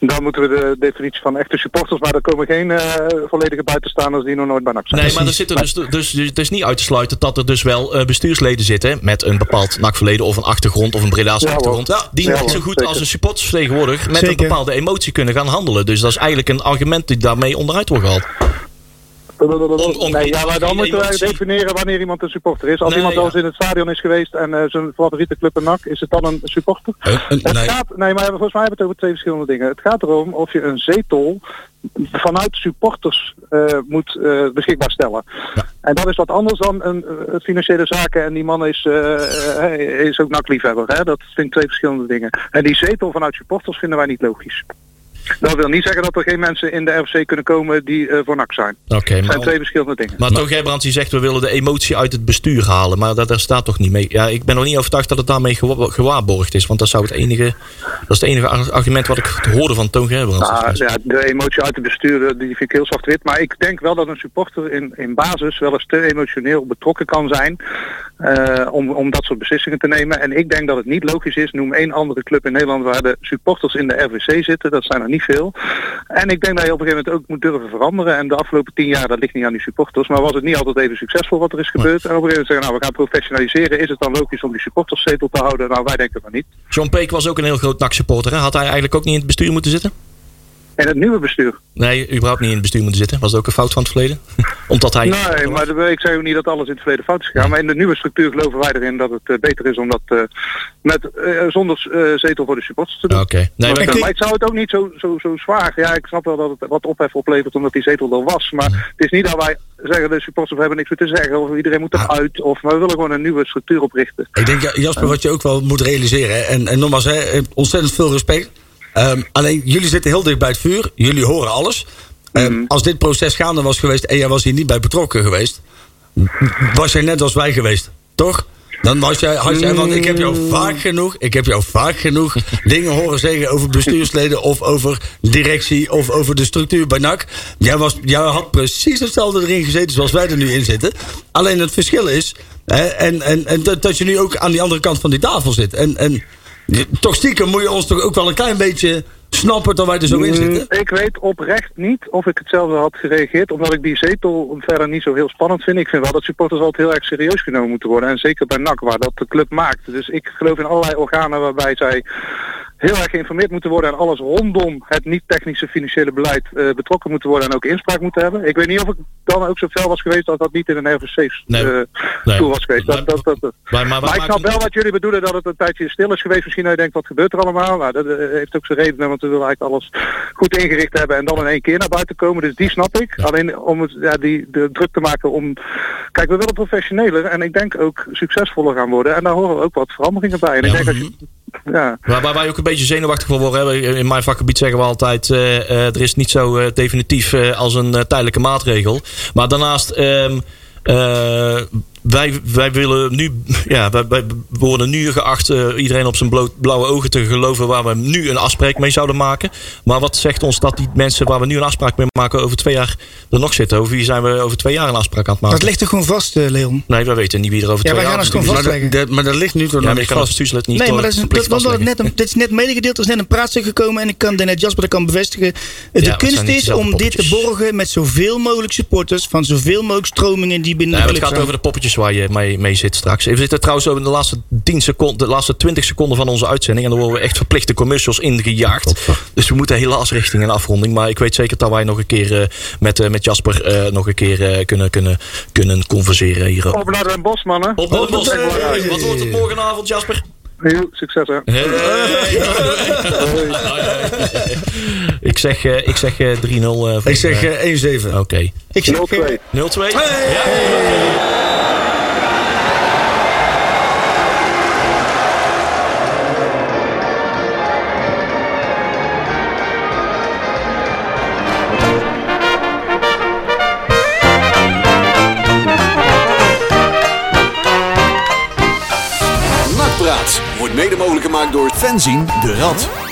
Speaker 6: dan moeten we de definitie van echte supporters, maar er komen geen eh, volledige buitenstaanders die nog nooit bij NAC zijn.
Speaker 3: Nee, maar er zitten dus, dus, dus het is niet uit te sluiten dat er dus wel eh, bestuursleden zitten met een bepaald nakverleden of een achtergrond of een Breda's
Speaker 6: Ja, hoor.
Speaker 3: achtergrond.
Speaker 2: Ja,
Speaker 3: Die
Speaker 6: ja,
Speaker 3: net
Speaker 6: hoor,
Speaker 3: zo goed
Speaker 6: zeker.
Speaker 3: als een supportersvertegenwoordiger met een
Speaker 4: Zeker.
Speaker 3: bepaalde emotie kunnen gaan handelen. Dus dat is eigenlijk een argument die daarmee onderuit wordt gehaald. om- om-
Speaker 6: nee, ja, maar dan
Speaker 3: om-
Speaker 6: moeten wij
Speaker 3: emotie.
Speaker 6: definiëren wanneer iemand een supporter is. Als
Speaker 3: Nee,
Speaker 6: iemand wel eens
Speaker 3: ja.
Speaker 6: in het stadion is geweest en eh, zijn favoriete club een NAC, is het dan een supporter?
Speaker 2: Eh, eh,
Speaker 6: Het
Speaker 2: nee.
Speaker 6: gaat, nee, maar volgens mij hebben we het over twee verschillende dingen. Het gaat erom of je een zetel vanuit supporters eh, moet eh, beschikbaar stellen. En dat is wat anders dan een, eh, financiële zaken. En die man is, eh, eh, is ook nakliefhebber. Hè? Dat vind ik twee verschillende dingen. En die zetel vanuit supporters vinden wij niet logisch. Dat wil niet zeggen dat er geen mensen in de RFC kunnen komen die eh, voor NAC zijn.
Speaker 3: Oké,
Speaker 6: Het zijn
Speaker 3: maar,
Speaker 6: twee verschillende dingen.
Speaker 3: maar Toon Gerbrands die zegt we willen de emotie uit het bestuur halen. Maar dat, daar staat toch niet mee. Ja, ik ben nog niet overtuigd dat het daarmee gewa- gewaarborgd is. Want dat zou het enige, dat is het enige ar- argument wat ik hoorde van Toon Gerbrands.
Speaker 6: Ah, ja, de emotie uit de bestuurder die vind ik heel zwart-wit. Maar ik denk wel dat een supporter in, in basis wel eens te emotioneel betrokken kan zijn eh, om, om dat soort beslissingen te nemen. En ik denk dat het niet logisch is. Noem één andere club in Nederland waar de supporters in de RWC zitten. Dat zijn er niet veel. En ik denk dat je op een gegeven moment ook moet durven veranderen. En de afgelopen tien jaar, dat ligt niet aan die supporters, maar was het niet altijd even succesvol wat er is gebeurd. En op een gegeven moment zeggen, nou we gaan professionaliseren. Is het dan logisch om die supporterszetel te houden? Nou wij denken van niet.
Speaker 3: John Peek was ook een heel groot NAC-supporter. hè? Had hij eigenlijk ook niet in het bestuur moeten zitten?
Speaker 6: En het nieuwe bestuur.
Speaker 3: Nee, überhaupt niet in het bestuur moeten zitten. Was dat ook een fout van het verleden? Omdat hij...
Speaker 6: Nee, maar de- ik zei ook niet dat alles in het verleden fout is gegaan. Maar in de nieuwe structuur geloven wij erin dat het eh, beter is om dat eh, met, eh, zonder eh, zetel voor de supporters te doen.
Speaker 3: Ah, Oké. Nee,
Speaker 6: Want,
Speaker 3: maar-
Speaker 6: eh, maar, ik zou het ook niet zo, zo, zo zwaar. Ja, ik snap wel dat het wat ophef oplevert omdat die zetel er was. Maar het is niet dat wij zeggen de supporters hebben niks meer te zeggen. Of iedereen moet eruit. Of maar we willen gewoon een nieuwe structuur oprichten.
Speaker 2: Ik denk, ja, Jasper, wat je ook wel moet realiseren. hè, En, en nogmaals, hè, ontzettend veel respect. Ehm, alleen, jullie zitten heel dicht bij het vuur. Jullie horen alles. Ehm, Als dit proces gaande was geweest en jij was hier niet bij betrokken geweest... was jij net als wij geweest, toch? Dan was jij, had jij, want ik heb
Speaker 3: Mm.
Speaker 2: jou vaak genoeg, ik heb jou vaak genoeg dingen horen zeggen over bestuursleden of over directie of over de structuur bij NAC. Jij, was, jij had precies hetzelfde erin gezeten zoals wij er nu in zitten. Alleen het verschil is, hè, en, en, en dat, dat je nu ook aan die andere kant van die tafel zit. En, en je- toch stiekem moet je ons toch ook wel een klein beetje snappen dat wij er zo
Speaker 3: Mm.
Speaker 2: in zitten.
Speaker 6: Mm, Ik weet oprecht niet of ik hetzelfde had gereageerd, omdat ik die zetel verder niet zo heel spannend vind. Ik vind wel dat supporters altijd heel erg serieus genomen moeten worden. En zeker bij NAC, waar dat de club maakt. Dus ik geloof in allerlei organen waarbij zij heel erg geïnformeerd moeten worden en alles rondom het niet-technische financiële beleid eh, betrokken moeten worden en ook inspraak moeten hebben. Ik weet niet of ik dan ook zo fel was geweest als dat niet in een RVC
Speaker 3: Nee.
Speaker 6: eh,
Speaker 3: Nee.
Speaker 6: toe was geweest. Dat, dat, dat,
Speaker 3: Maar, maar, wij
Speaker 6: maar ik snap
Speaker 3: maken-
Speaker 6: wel wat jullie bedoelen, dat het een tijdje stil is geweest. Misschien dat je denkt, wat gebeurt er allemaal? Nou, dat eh, heeft ook zijn redenen, want we willen eigenlijk alles goed ingericht hebben en dan in één keer naar buiten komen. Dus die snap ik. Alleen om het, ja, die, de druk te maken om... Kijk, we willen professioneler en ik denk ook succesvoller gaan worden. En daar horen ook wat veranderingen bij. En ik
Speaker 3: Ja.
Speaker 6: denk dat je... Ja.
Speaker 3: Waar, waar wij ook een beetje zenuwachtig voor worden. Hè. In mijn vakgebied zeggen we altijd: eh, eh, er is niet zo eh, definitief eh, als een eh, tijdelijke maatregel. Maar daarnaast, ehm, eh, wij, wij willen nu, ja, wij, wij worden nu geacht eh, iedereen op zijn bloot- blauwe ogen te geloven waar we nu een afspraak mee zouden maken. Maar wat zegt ons dat die mensen waar we nu een afspraak mee maken over twee jaar er nog zitten? Over wie zijn we over twee jaar een afspraak aan het maken?
Speaker 4: Dat ligt er gewoon vast, eh, Leon.
Speaker 3: Nee, wij weten niet wie er over
Speaker 4: Ja,
Speaker 3: twee
Speaker 4: wij
Speaker 3: jaar
Speaker 4: gaan
Speaker 3: is.
Speaker 4: als gewoon
Speaker 2: Maar
Speaker 4: vastleggen.
Speaker 2: dat, dat- maar dat ligt nu toch
Speaker 3: Ja,
Speaker 2: nog
Speaker 3: maar ik
Speaker 2: niet
Speaker 3: kan als
Speaker 2: vast.
Speaker 3: bestuurslid niet
Speaker 4: Nee, maar dat is,
Speaker 3: verplicht
Speaker 4: dat, dat,
Speaker 3: vastleggen.
Speaker 4: net een, dit is net medegedeeld, dat is net een praatstuk gekomen en ik kan daarnet Jasper dat kan bevestigen. De
Speaker 3: Ja, we zijn
Speaker 4: kunst
Speaker 3: niet
Speaker 4: is
Speaker 3: dezelfde
Speaker 4: om dit te
Speaker 3: poppetjes.
Speaker 4: borgen met zoveel mogelijk supporters van zoveel mogelijk stromingen die binnen
Speaker 3: Nee, maar
Speaker 4: de
Speaker 3: het
Speaker 4: club
Speaker 3: gaat
Speaker 4: zijn.
Speaker 3: over de poppetjes waar je mee, mee zit straks. We zitten trouwens over in de laatste, 10 seconden, de laatste 20 seconden van onze uitzending. En dan worden we echt verplicht de commercials ingejaagd. Dus we moeten helaas richting een afronding. Maar ik weet zeker dat wij nog een keer eh, met, eh, met Jasper eh, nog een keer eh, kunnen, kunnen, kunnen converseren hierop.
Speaker 6: Op naar Den Bosch, mannen.
Speaker 3: Op naar het bos.
Speaker 6: Dat is belangrijk.
Speaker 3: Wat wordt het morgenavond, Jasper?
Speaker 6: Heel succes, hè.
Speaker 3: Hey. ik zeg, eh, ik zeg eh, 3-0. eh, voor-
Speaker 2: Ik zeg
Speaker 3: eh,
Speaker 2: eh, 1-7.
Speaker 3: Oké.
Speaker 4: Ik zeg, eh,
Speaker 3: 0-2. Ja.
Speaker 1: Nakpraat wordt mede mogelijk gemaakt door Fenzin de Rad.